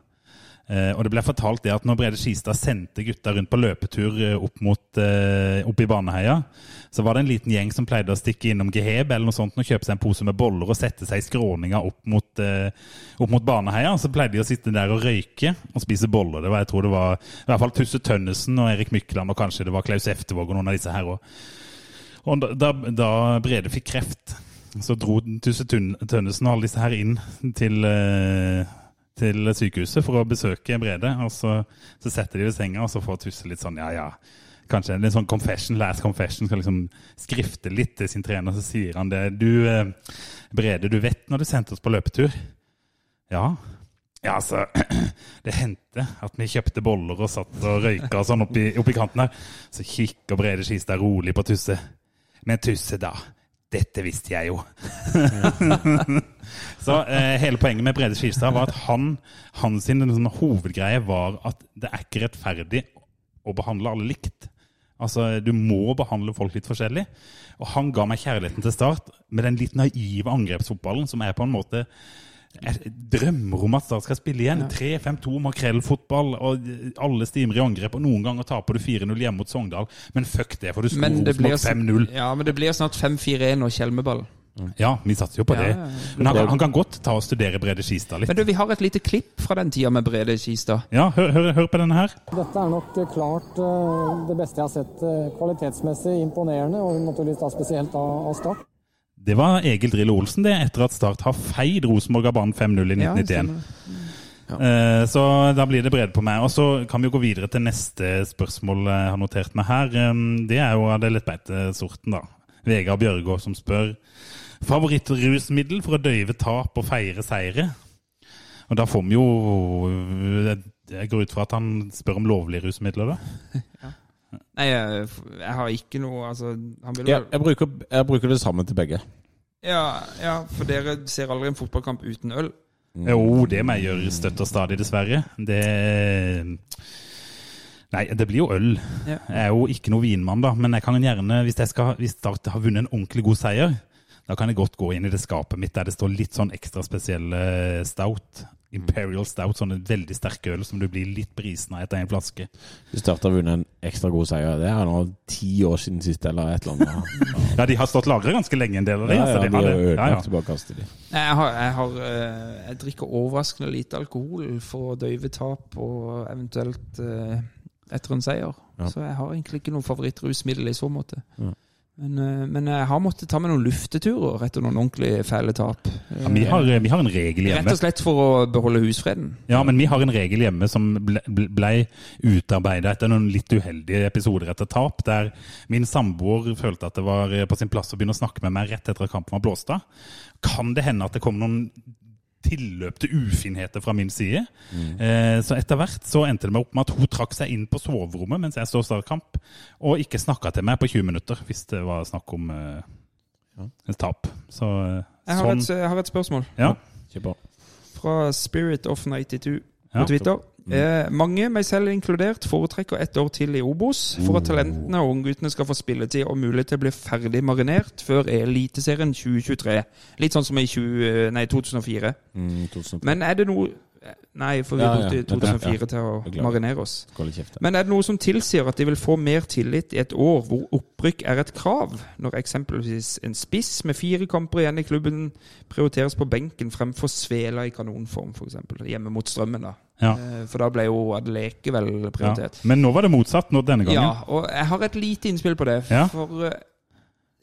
Speaker 3: Eh, og det ble fortalt det at når Brede Skistad sendte gutta rundt på løpetur eh, opp, mot, eh, opp i Baneheia, så var det en liten gjeng som pleide å stikke innom Geheb eller noe sånt og kjøpe seg en pose med boller og sette seg i skråninga opp mot, eh, opp mot Baneheia. Så pleide de å sitte der og røyke og spise boller. Det var, jeg tror det var i hvert fall Tusse Tønnesen og Erik Mykland og kanskje det var Klaus Eftevåg og noen av disse her òg. Og da, da, da Brede fikk kreft, så dro Tusse Tun- Tønnesen og alle disse her inn til, eh, til sykehuset for å besøke Brede. Og så, så setter de ved senga, og så får Tusse litt sånn ja, ja. Kanskje en litt sånn confession, last confession, skal liksom skrifte litt til sin trener. Så sier han det. Du, eh, Brede, du vet når du sendte oss på løpetur? Ja. Ja, altså, det hendte at vi kjøpte boller og satt og røyka og sånn oppi, oppi kanten her. Så kikker Brede Skistad rolig på Tusse. Men Tusse, da. Dette visste jeg jo. Så eh, hele poenget med Brede Skivstad var at han, hans sin, sånn hovedgreie var at det er ikke rettferdig å behandle alle likt. Altså, Du må behandle folk litt forskjellig. Og han ga meg kjærligheten til Start med den litt naive angrepsfotballen som er på en måte jeg drømmer om at Start skal spille igjen. 3-5-2, makrellfotball, og eh, alle stimer i angrep. Og noen ganger taper du 4-0 hjemme mot Sogndal, men fuck det, for du
Speaker 5: Men
Speaker 3: skår
Speaker 5: det blir, altså-
Speaker 3: Rosenborg 5-0.
Speaker 5: ja, men det blir snart 5-4-1 og Kjelmeball.
Speaker 3: Ja, vi satser jo på
Speaker 5: Ja,
Speaker 3: det.
Speaker 5: ja, ja.
Speaker 3: Men han, kan- han kan godt ta og studere Brede Skistad litt.
Speaker 5: Men du, vi har et lite klipp fra den tida med Brede Skistad.
Speaker 3: Ja, hør, hør, hør på denne her.
Speaker 6: Dette er nok eh, klart eh, det beste jeg har sett eh, kvalitetsmessig imponerende, og naturligvis da spesielt av, av Start.
Speaker 3: Det var Egil Drillo Olsen, det, etter at Start har feid Rosenborg av banen 5-0 i
Speaker 5: Ja,
Speaker 3: 1991.
Speaker 5: stemmer.
Speaker 3: Eh, Så da blir det bred på meg. Og så kan vi jo gå videre til neste spørsmål eh, jeg har notert meg her. Eh, Det er jo av det lettbeitesorten, da. Vegard Bjørgaard som spør favorittrusmiddel for å døyve tap og feire seire. Og da får vi jo Jeg går ut fra at han spør om lovlige rusmidler, da.
Speaker 5: Nei, jeg, jeg har ikke noe Altså, han vil
Speaker 4: Ja,
Speaker 5: vel
Speaker 4: jeg, bruker, jeg bruker det samme til begge.
Speaker 5: ja, ja, for dere ser aldri en fotballkamp uten øl.
Speaker 3: Jo, det må jeg gjøre støtt og stadig, dessverre. Det Nei, det blir jo øl.
Speaker 5: Ja.
Speaker 3: Jeg er jo ikke noe vinmann, da, men jeg kan gjerne, hvis, jeg skal, hvis Start har vunnet en ordentlig god seier, da kan jeg godt gå inn i det skapet mitt der det står litt sånn ekstra spesielle stout. Imperial stout, sånne veldig sterke øl som du blir litt brisen av etter en flaske.
Speaker 4: Du starta å vunnet en ekstra god seier. Det er nå ti år siden sist, eller et eller annet.
Speaker 3: Ja, de har stått lagra ganske lenge, en del av de.
Speaker 4: Ja, ja,
Speaker 3: så
Speaker 4: de
Speaker 3: det- ja,
Speaker 4: har
Speaker 3: det- ja, ja.
Speaker 4: ødelagt tilbakekastet, de.
Speaker 5: Nei, jeg, har, jeg, har, eh, jeg drikker overraskende lite alkohol for å døyve tap og eventuelt eh, etter en seier.
Speaker 4: Ja.
Speaker 5: Så jeg har egentlig ikke noe favorittrusmiddel i så måte.
Speaker 4: Ja.
Speaker 5: Men, eh, men jeg har måttet ta meg noen lufteturer etter noen ordentlig fæle tap.
Speaker 3: Ja, vi, har, vi har en regel hjemme.
Speaker 5: Rett og slett for å beholde husfreden.
Speaker 3: Ja, men vi har en regel hjemme som ble, ble- ble utarbeida etter noen litt uheldige episoder etter tap, der min samboer følte at det var eh, på sin plass å begynne å snakke med meg rett etter at kampen var blåst av. Kan det hende at det kom noen tilløp til ufinheter fra min side? Eh, så etter hvert så endte det meg opp med at hun trakk seg inn på soverommet mens jeg så startkamp, og ikke snakka til meg på 20 minutter, hvis det var snakk om eh, et tap. Så eh,
Speaker 5: Jeg har,
Speaker 3: sånn.
Speaker 5: et, jeg har et spørsmål
Speaker 3: Ja.
Speaker 4: Kjempebra.
Speaker 5: fra Spirit of 92
Speaker 3: Ja.
Speaker 5: på Twitter.
Speaker 4: Mm.
Speaker 5: Eh, mange, meg selv inkludert, foretrekker ett år til i Obos for
Speaker 4: Oh.
Speaker 5: at talentene og ungguttene skal få spilletid og mulighet til å bli ferdig marinert før Eliteserien 2023. Litt sånn som i 20, nei, 2004.
Speaker 4: Mm, 2003.
Speaker 5: Men er det noe eh, Nei, for vi
Speaker 4: Ja, ja.
Speaker 5: brukte 2004 til å
Speaker 4: Beklager.
Speaker 5: marinere oss.
Speaker 4: Skål i kjeften.
Speaker 5: Men er det noe som tilsier at de vil få mer tillit i et år hvor opprykk er et krav, når eksempelvis en spiss med fire kamper igjen i klubben prioriteres på benken fremfor Svela i kanonform, f.eks. Hjemme mot Strømmen, da.
Speaker 3: Ja.
Speaker 5: Eh, For da ble jo Adeleke vel
Speaker 3: Ja.
Speaker 5: prioritert.
Speaker 3: Men nå var det motsatt nå denne gangen.
Speaker 5: Ja, og jeg har et lite innspill på det.
Speaker 3: Ja.
Speaker 5: For eh,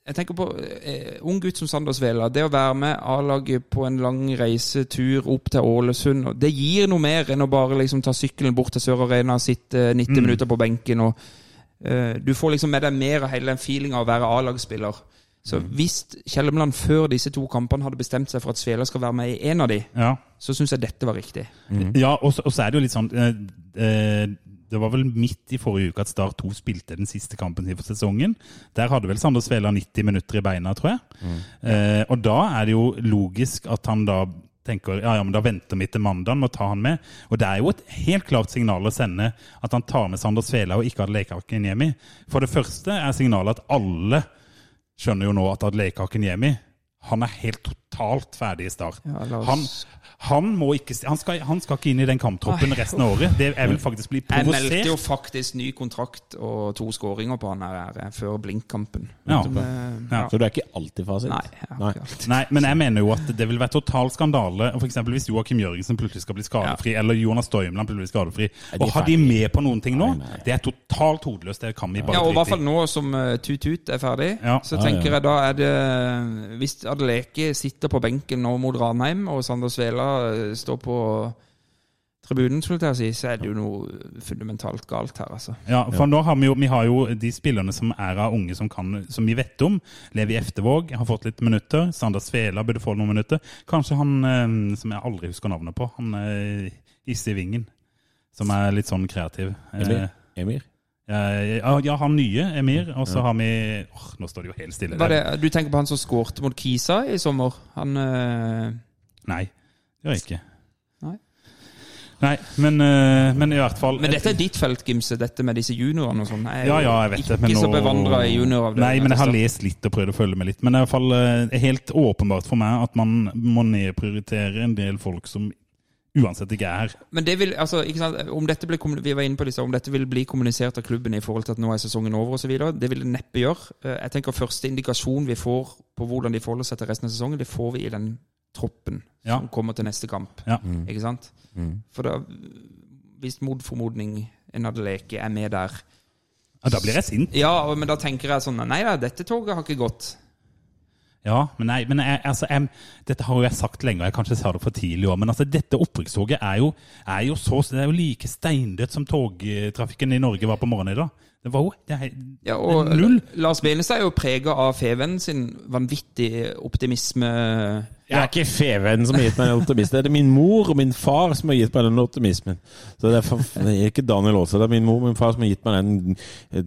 Speaker 5: jeg tenker på eh, ung gutt som Sander Svela. Det å være med A-laget på en lang reisetur opp til Ålesund, og det gir noe mer enn å bare liksom ta sykkelen bort til Sør Arena og sitte 90
Speaker 3: Mm.
Speaker 5: minutter på benken. og eh, Du får liksom med deg mer av hele den feelinga av å være A-lagsspiller. Så
Speaker 3: Mm.
Speaker 5: hvis Kjellemland før disse to kampene hadde bestemt seg for at Svela skal være med i én av de,
Speaker 3: Ja.
Speaker 5: så syns jeg dette var riktig.
Speaker 3: Ja, og så, og så er det jo litt sånn eh, eh, Det var vel midt i forrige uke at Start 2 spilte den siste kampen sin for sesongen. Der hadde vel Sander Svela 90 minutter i beina, tror jeg.
Speaker 5: Mm.
Speaker 3: Eh, og da er det jo logisk at han da tenker ja, ja, men da venter vi til mandag med å ta han med. Og det er jo et helt klart signal å sende at han tar med Sander Svela og ikke Adele Ekaken Jemi. For det første er signalet at alle skjønner jo nå at Adele Ekaken Jemi han er helt totalt ferdig i start.
Speaker 5: Ja, la oss-
Speaker 3: han, han, må ikke, han, skal, han skal ikke inn i den kamptroppen resten av året. Det, jeg vil faktisk bli
Speaker 5: Jeg meldte jo
Speaker 3: provosert.
Speaker 5: faktisk ny kontrakt og to skåringer på han her eh, før Blink-kampen.
Speaker 3: Ja.
Speaker 5: Men, eh,
Speaker 3: Ja.
Speaker 4: Så du er ikke alltid fasit?
Speaker 5: Nei. Jeg har ikke alt.
Speaker 3: Nei, men jeg mener jo at det vil være total skandale for eksempel hvis Joakim Jørgensen plutselig skal bli skadefri, eller Jonas Doimland plutselig blir skadefri.
Speaker 4: de
Speaker 3: Og har de
Speaker 4: ferdige?
Speaker 3: med på noen ting nå?
Speaker 4: Nei, nei.
Speaker 3: Det er totalt hodeløst. Det kan vi bare
Speaker 5: Ja, og i hvert
Speaker 3: drite
Speaker 5: fall
Speaker 3: i.
Speaker 5: nå som eh, Tut-Tut er ferdig,
Speaker 3: Ja.
Speaker 5: så
Speaker 4: Ja, ja.
Speaker 5: tenker jeg da er det eh, Hvis Adeleke sitter på benken nå mot Ranheim, og Sander Svela eh, står på tribunen, skulle jeg til å si, så er det jo noe fundamentalt galt her, altså.
Speaker 3: Ja, for nå har vi jo, vi har jo de spillerne som er av unge som, kan, som vi vet om. Levi Eftevåg har fått litt minutter. Sander Svela burde få noen minutter. Kanskje han eh, som jeg aldri husker navnet på, han eh, Isse i Vingen, som er litt sånn kreativ. Eh,
Speaker 4: Emir? Emir?
Speaker 3: eh, ja, ja, han nye, Emir, og så har vi åh, Nå står det jo helt stille.
Speaker 5: Var det, du tenker på han som skårte mot Kisa i sommer? Han eh,
Speaker 3: Nei, det gjør jeg ikke.
Speaker 5: Nei.
Speaker 3: Nei, men, eh, men i hvert fall
Speaker 5: Men dette er ditt felt, Gimse, dette med disse juniorene og sånn. Jeg er
Speaker 3: ja,
Speaker 5: jo
Speaker 3: ja, jeg vet det.
Speaker 5: ikke så bevandra i altså. junioravdelingen.
Speaker 3: Nei, men jeg har
Speaker 5: så-
Speaker 3: lest litt og prøvd å følge med litt. Men det er i hvert fall eh, helt åpenbart for meg at man må nedprioritere en del folk som uansett ikke er her.
Speaker 5: Men det vil, altså, ikke sant, om dette blir, kommuni- vi var inne på det, i stad, om dette vil bli kommunisert av klubben i forhold til at nå er sesongen over osv., det vil det neppe gjøre. Eh, Jeg tenker Første indikasjon vi får på hvordan de forholder seg til resten av sesongen, det får vi i den troppen
Speaker 3: Ja.
Speaker 5: som kommer til neste kamp.
Speaker 3: Ja.
Speaker 5: Ikke sant? For da, hvis mot formodning en hadde leke er med der
Speaker 3: Ja, da blir jeg sint.
Speaker 5: Ja, og- men da tenker jeg sånn Nei da, dette toget har ikke gått.
Speaker 3: Ja, men, nei, men jeg, altså, jeg, dette har jo jeg sagt lenge, og jeg kanskje sa det for tidlig òg, men altså, dette opprykkstoget er, jo- er jo så Det er jo like steindødt som togtrafikken i Norge var på morgenen i dag. Det var jo det er,
Speaker 5: Ja, og
Speaker 3: Null.
Speaker 5: Lars Benestad er jo prega av Feven sin vanvittige optimisme.
Speaker 4: Jeg er ikke fevennen som har gitt meg den optimismen. Det er min mor og min far som har gitt meg den optimismen. Så Det er, for, det er ikke Daniel Aase, det er min mor og min far som har gitt meg den,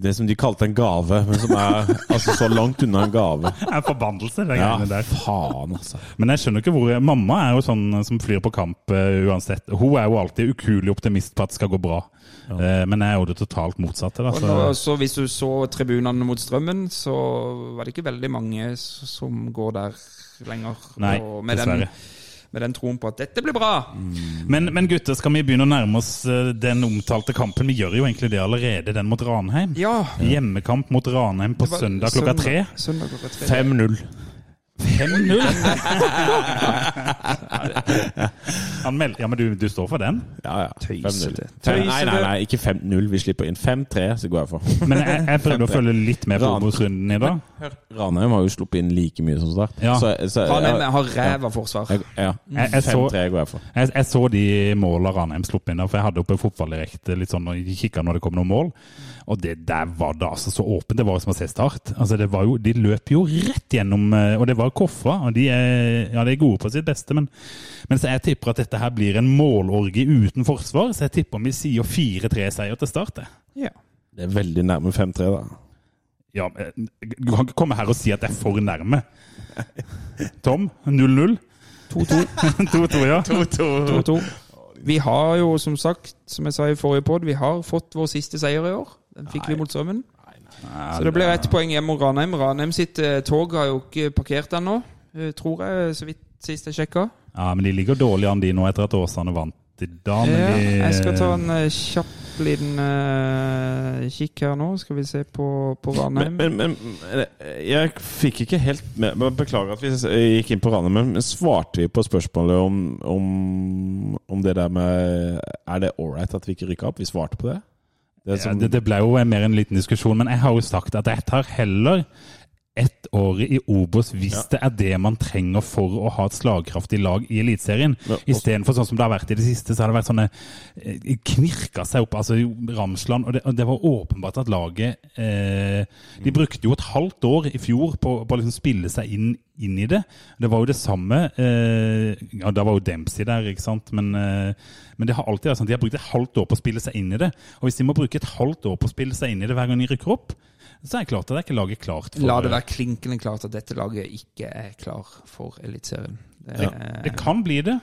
Speaker 4: det som de kalte en gave, men som er altså så langt unna en gave.
Speaker 3: det er forbannelse, de
Speaker 4: Ja,
Speaker 3: greiene der.
Speaker 4: faen, altså.
Speaker 3: Men jeg skjønner ikke hvor Mamma er jo sånn som flyr på kamp eh, uansett. Hun er jo alltid ukuelig optimist på at det skal gå bra. Eh, men jeg er jo det totalt motsatte. Da,
Speaker 5: Og
Speaker 3: så.
Speaker 5: nå, så hvis du så tribunene mot Strømmen, så var det ikke veldig mange s- som går der lenger.
Speaker 3: Nei,
Speaker 5: og med
Speaker 3: dessverre. Mm.
Speaker 5: den, med den troen på at 'dette blir bra'.
Speaker 3: Men, men gutter, skal vi begynne å nærme oss eh, den omtalte kampen? Vi gjør jo egentlig det allerede, den mot Ranheim.
Speaker 5: Ja.
Speaker 3: Hjemmekamp mot Ranheim på
Speaker 5: det var
Speaker 3: søndag klokka tre.
Speaker 5: Søndag klokka tre.
Speaker 4: 5-0.
Speaker 3: 5-0! Han meld- Ja, men du, du står for den?
Speaker 4: Ja, ja. 5-0.
Speaker 5: Tøysete.
Speaker 4: Nei, nei, nei, ikke 5-0. Vi slipper inn 5-3, så går jeg for.
Speaker 3: Men jeg, jeg prøvde å følge litt med på
Speaker 4: Ran.
Speaker 3: Obos-runden i dag.
Speaker 4: Ranheim har jo sluppet inn like mye som Start.
Speaker 3: Ja.
Speaker 4: Så, så,
Speaker 5: Han er med, har ræva forsvar.
Speaker 4: jeg, ja.
Speaker 3: Jeg, jeg så,
Speaker 4: 5-3 går jeg for.
Speaker 3: Jeg, jeg så de måla Ranheim slapp inn, der, for jeg hadde oppe fotballdirekte litt sånn, og kikka når det kom noen mål. Og det der var da altså så åpent. Det var jo som å se Start. Altså, det var jo, de løp jo rett gjennom eh, Og det var Koffa. Og de er, ja, de er gode på sitt beste, men, men så jeg tipper at dette her blir en målorgie uten forsvar. Så jeg tipper om vi sier 4-3-seier til Start. jeg.
Speaker 5: Ja.
Speaker 4: Det er veldig nærme 5-3, da.
Speaker 3: Ja, men, eh, du kan ikke komme her og si at jeg er for nærme. Tom, 0-0.
Speaker 5: 2-2.
Speaker 3: 2-2, ja.
Speaker 5: 2-2. Vi har jo, som sagt, som jeg sa i forrige pod, vi har fått vår siste seier i år. Den fikk vi mot Strømmen. Så det blir ett poeng hjem mot Ranheim. Ranheim sitt eh, tog har jo ikke parkert ennå, eh, tror jeg, så vidt sist jeg sjekka.
Speaker 3: Ja, men de ligger dårlig an de nå etter at Åsane vant i dag. Men
Speaker 5: Ja,
Speaker 3: de,
Speaker 5: jeg skal ta en eh, kjapp liten eh, kikk her nå. Skal vi se på, på
Speaker 4: Men,
Speaker 5: Ranheim.
Speaker 4: men, men jeg fikk ikke helt med men Beklager at vi s- gikk inn på Ranheim, men men svarte vi på spørsmålet om, om, om det der med Er det ålreit at vi ikke rykka opp? Vi svarte på det? Det
Speaker 3: ja,
Speaker 4: som-
Speaker 3: det, det ble jo mer en liten diskusjon, men jeg har jo sagt at jeg tar heller ett år i Obos hvis det er det man trenger for å ha et slagkraftig lag i Eliteserien.
Speaker 4: Ja, og-
Speaker 3: Istedenfor sånn som det har vært i det siste, så har det vært sånne eh, Knirka seg opp. Altså jo, Ramsland og det, og det var åpenbart at laget eh,
Speaker 5: Mm.
Speaker 3: De brukte jo et halvt år i fjor på, på å liksom spille seg inn, inn i det. Det var jo det samme eh, Ja, da var jo Dempsey der, ikke sant, men eh, men det har alltid vært sånn, de har brukt et halvt år på å spille seg inn i det. Og hvis de må bruke et halvt år på å spille seg inn i det hver gang de rykker opp, så er det klart at det er ikke laget klart for
Speaker 5: La det være klinkende klart at dette laget ikke er klar for Eliteserien. Det
Speaker 3: Ja.
Speaker 5: er-
Speaker 3: Det kan bli det.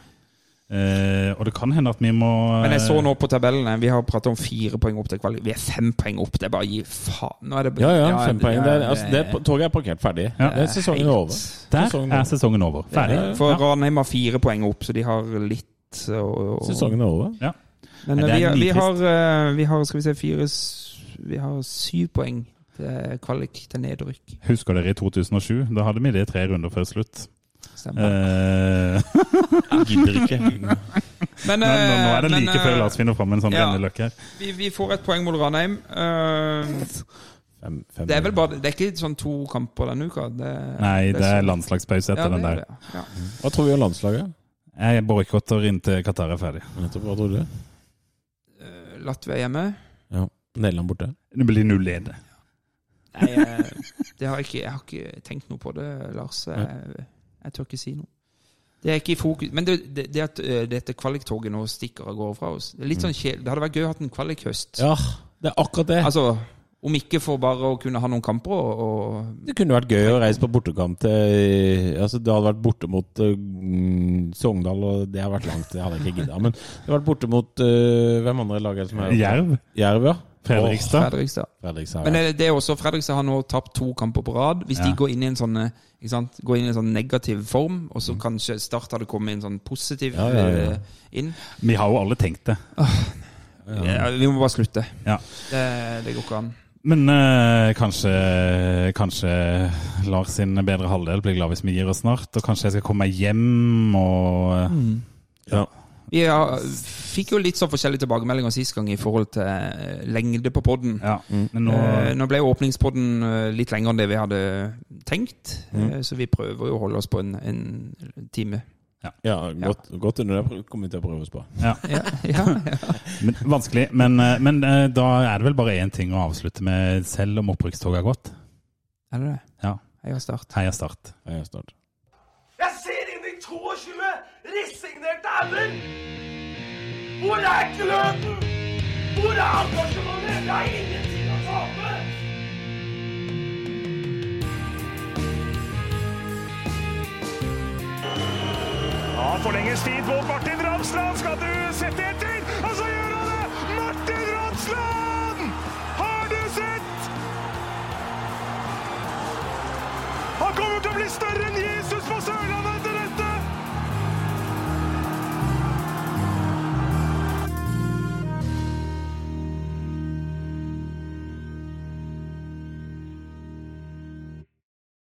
Speaker 3: Eh, og det kan hende at vi må eh,
Speaker 5: Men jeg så nå på tabellene, vi har pratet om fire poeng opp til kvalik. Vi er fem poeng opp, det er bare å gi faen. Nå er det
Speaker 4: ja, ja, fem poeng. Det, er-
Speaker 5: det-
Speaker 4: altså, det er- toget er parkert ferdig.
Speaker 3: Ja.
Speaker 4: Det er sesongen er over.
Speaker 3: Der
Speaker 4: sesongen
Speaker 3: er
Speaker 4: over.
Speaker 3: sesongen over. Ferdig.
Speaker 4: Ja, ja, ja.
Speaker 5: For
Speaker 3: Ja.
Speaker 5: Ranheim har fire poeng opp, så de har litt å- å-
Speaker 4: Sesongen er over.
Speaker 5: Men
Speaker 3: Nei, det er
Speaker 5: vi, har- vi,
Speaker 3: nitrist.
Speaker 5: har, eh, vi har, skal vi se, fire s- Vi har syv poeng til kvalik til nedrykk.
Speaker 3: Husker dere i 2007? Da hadde vi det tre runder før slutt.
Speaker 5: Stemmer.
Speaker 3: Eh,
Speaker 4: Gidder ikke.
Speaker 5: Men,
Speaker 3: men nå, nå
Speaker 5: eh,
Speaker 3: er det
Speaker 5: men,
Speaker 3: like før
Speaker 5: eh,
Speaker 3: Lars finner fram en sånn
Speaker 5: ja.
Speaker 3: renneløk her.
Speaker 5: vi, vi får et poeng mot Ranheim. Eh,
Speaker 4: Fem, fem,
Speaker 5: Det er vel bare Det er ikke sånn to kamper denne uka? Det,
Speaker 3: Nei, det er
Speaker 5: sånn-
Speaker 3: landslagspause
Speaker 5: Ja,
Speaker 3: etter
Speaker 5: det
Speaker 3: den
Speaker 5: er
Speaker 3: der.
Speaker 5: det, ja.
Speaker 4: Hva tror vi om landslaget?
Speaker 3: Jeg boikotter inntil Qatar er ferdig.
Speaker 4: Nettopp, Hva tror du?
Speaker 5: Eh, Latvia hjemme.
Speaker 4: Ja. Nederland borte.
Speaker 3: Det blir 0-1.
Speaker 5: Nei, eh, det har jeg, ikke, jeg har ikke tenkt noe på det, Lars. Jeg, jeg tør ikke si noe. Det er ikke i fokus. Men det, det, det at eh, dette kvaliktoget
Speaker 3: Mm.
Speaker 5: nå stikker av gårde fra oss Det er litt sånn kjedelig. Det hadde vært gøy å ha en kvalikhøst.
Speaker 4: Ja, det er akkurat det.
Speaker 5: Altså, Om ikke for bare å kunne ha noen kamper og, og
Speaker 4: Det kunne vært gøy å reise på bortekamp til altså Det hadde vært borte mot eh, mm, Sogndal, og det har vært langt. Det hadde jeg ikke gidda. Men det har vært borte mot eh, Hvem andre lag er det som er
Speaker 3: Jerv.
Speaker 4: Jerv, ja.
Speaker 3: Fredrikstad.
Speaker 5: Fredrikstad.
Speaker 4: Åh, Fredrikstad.
Speaker 5: Men eh,
Speaker 4: ja.
Speaker 5: det, det er også Fredrikstad har nå tapt to kamper på rad. Hvis
Speaker 3: Ja.
Speaker 5: de går inn i en sånn eh, ikke sant? Går inn i en sånn negativ form, og så kanskje Start hadde kommet i en sånn positiv
Speaker 4: Ja, ja, ja.
Speaker 5: eh, inn
Speaker 3: Vi har jo alle tenkt det.
Speaker 5: ja, Vi må bare slutte.
Speaker 3: Ja.
Speaker 5: Det, det går ikke an.
Speaker 3: Men eh, kanskje, kanskje Lars sin bedre halvdel blir glad hvis vi gir oss snart. Og kanskje jeg skal komme meg hjem og eh,
Speaker 5: Mm.
Speaker 3: ja.
Speaker 5: Vi har, fikk jo litt sånn forskjellige tilbakemeldinger sist gang i forhold til eh, lengde på podden.
Speaker 3: ja. Men nå
Speaker 5: Eh, nå ble jo åpningspodden eh, litt lengre enn det vi hadde tenkt, eh, så vi prøver jo å holde oss på en, en time.
Speaker 4: ja, godt, godt under det kommer vi til å prøve oss på.
Speaker 5: Ja, ja,
Speaker 3: men, Vanskelig. Men, eh, men eh, da er det vel bare én ting å avslutte med selv om opprykkstoget har gått.
Speaker 5: Er det det?
Speaker 3: Ja.
Speaker 5: Heia Start.
Speaker 3: Heia Start.
Speaker 4: Ja, snart.
Speaker 1: Jeg ser inn i 22 resignerte ender! Hvor er gløden? Hvor er engasjementet? Jeg har ingenting å tape!
Speaker 2: Ja, forlenges tid mot Martin Ramsland. Skal du sette etter? Og så gjør han det! Martin Ramsland! Har du sett? Han kommer til å bli større enn Jesus på Sørlandet!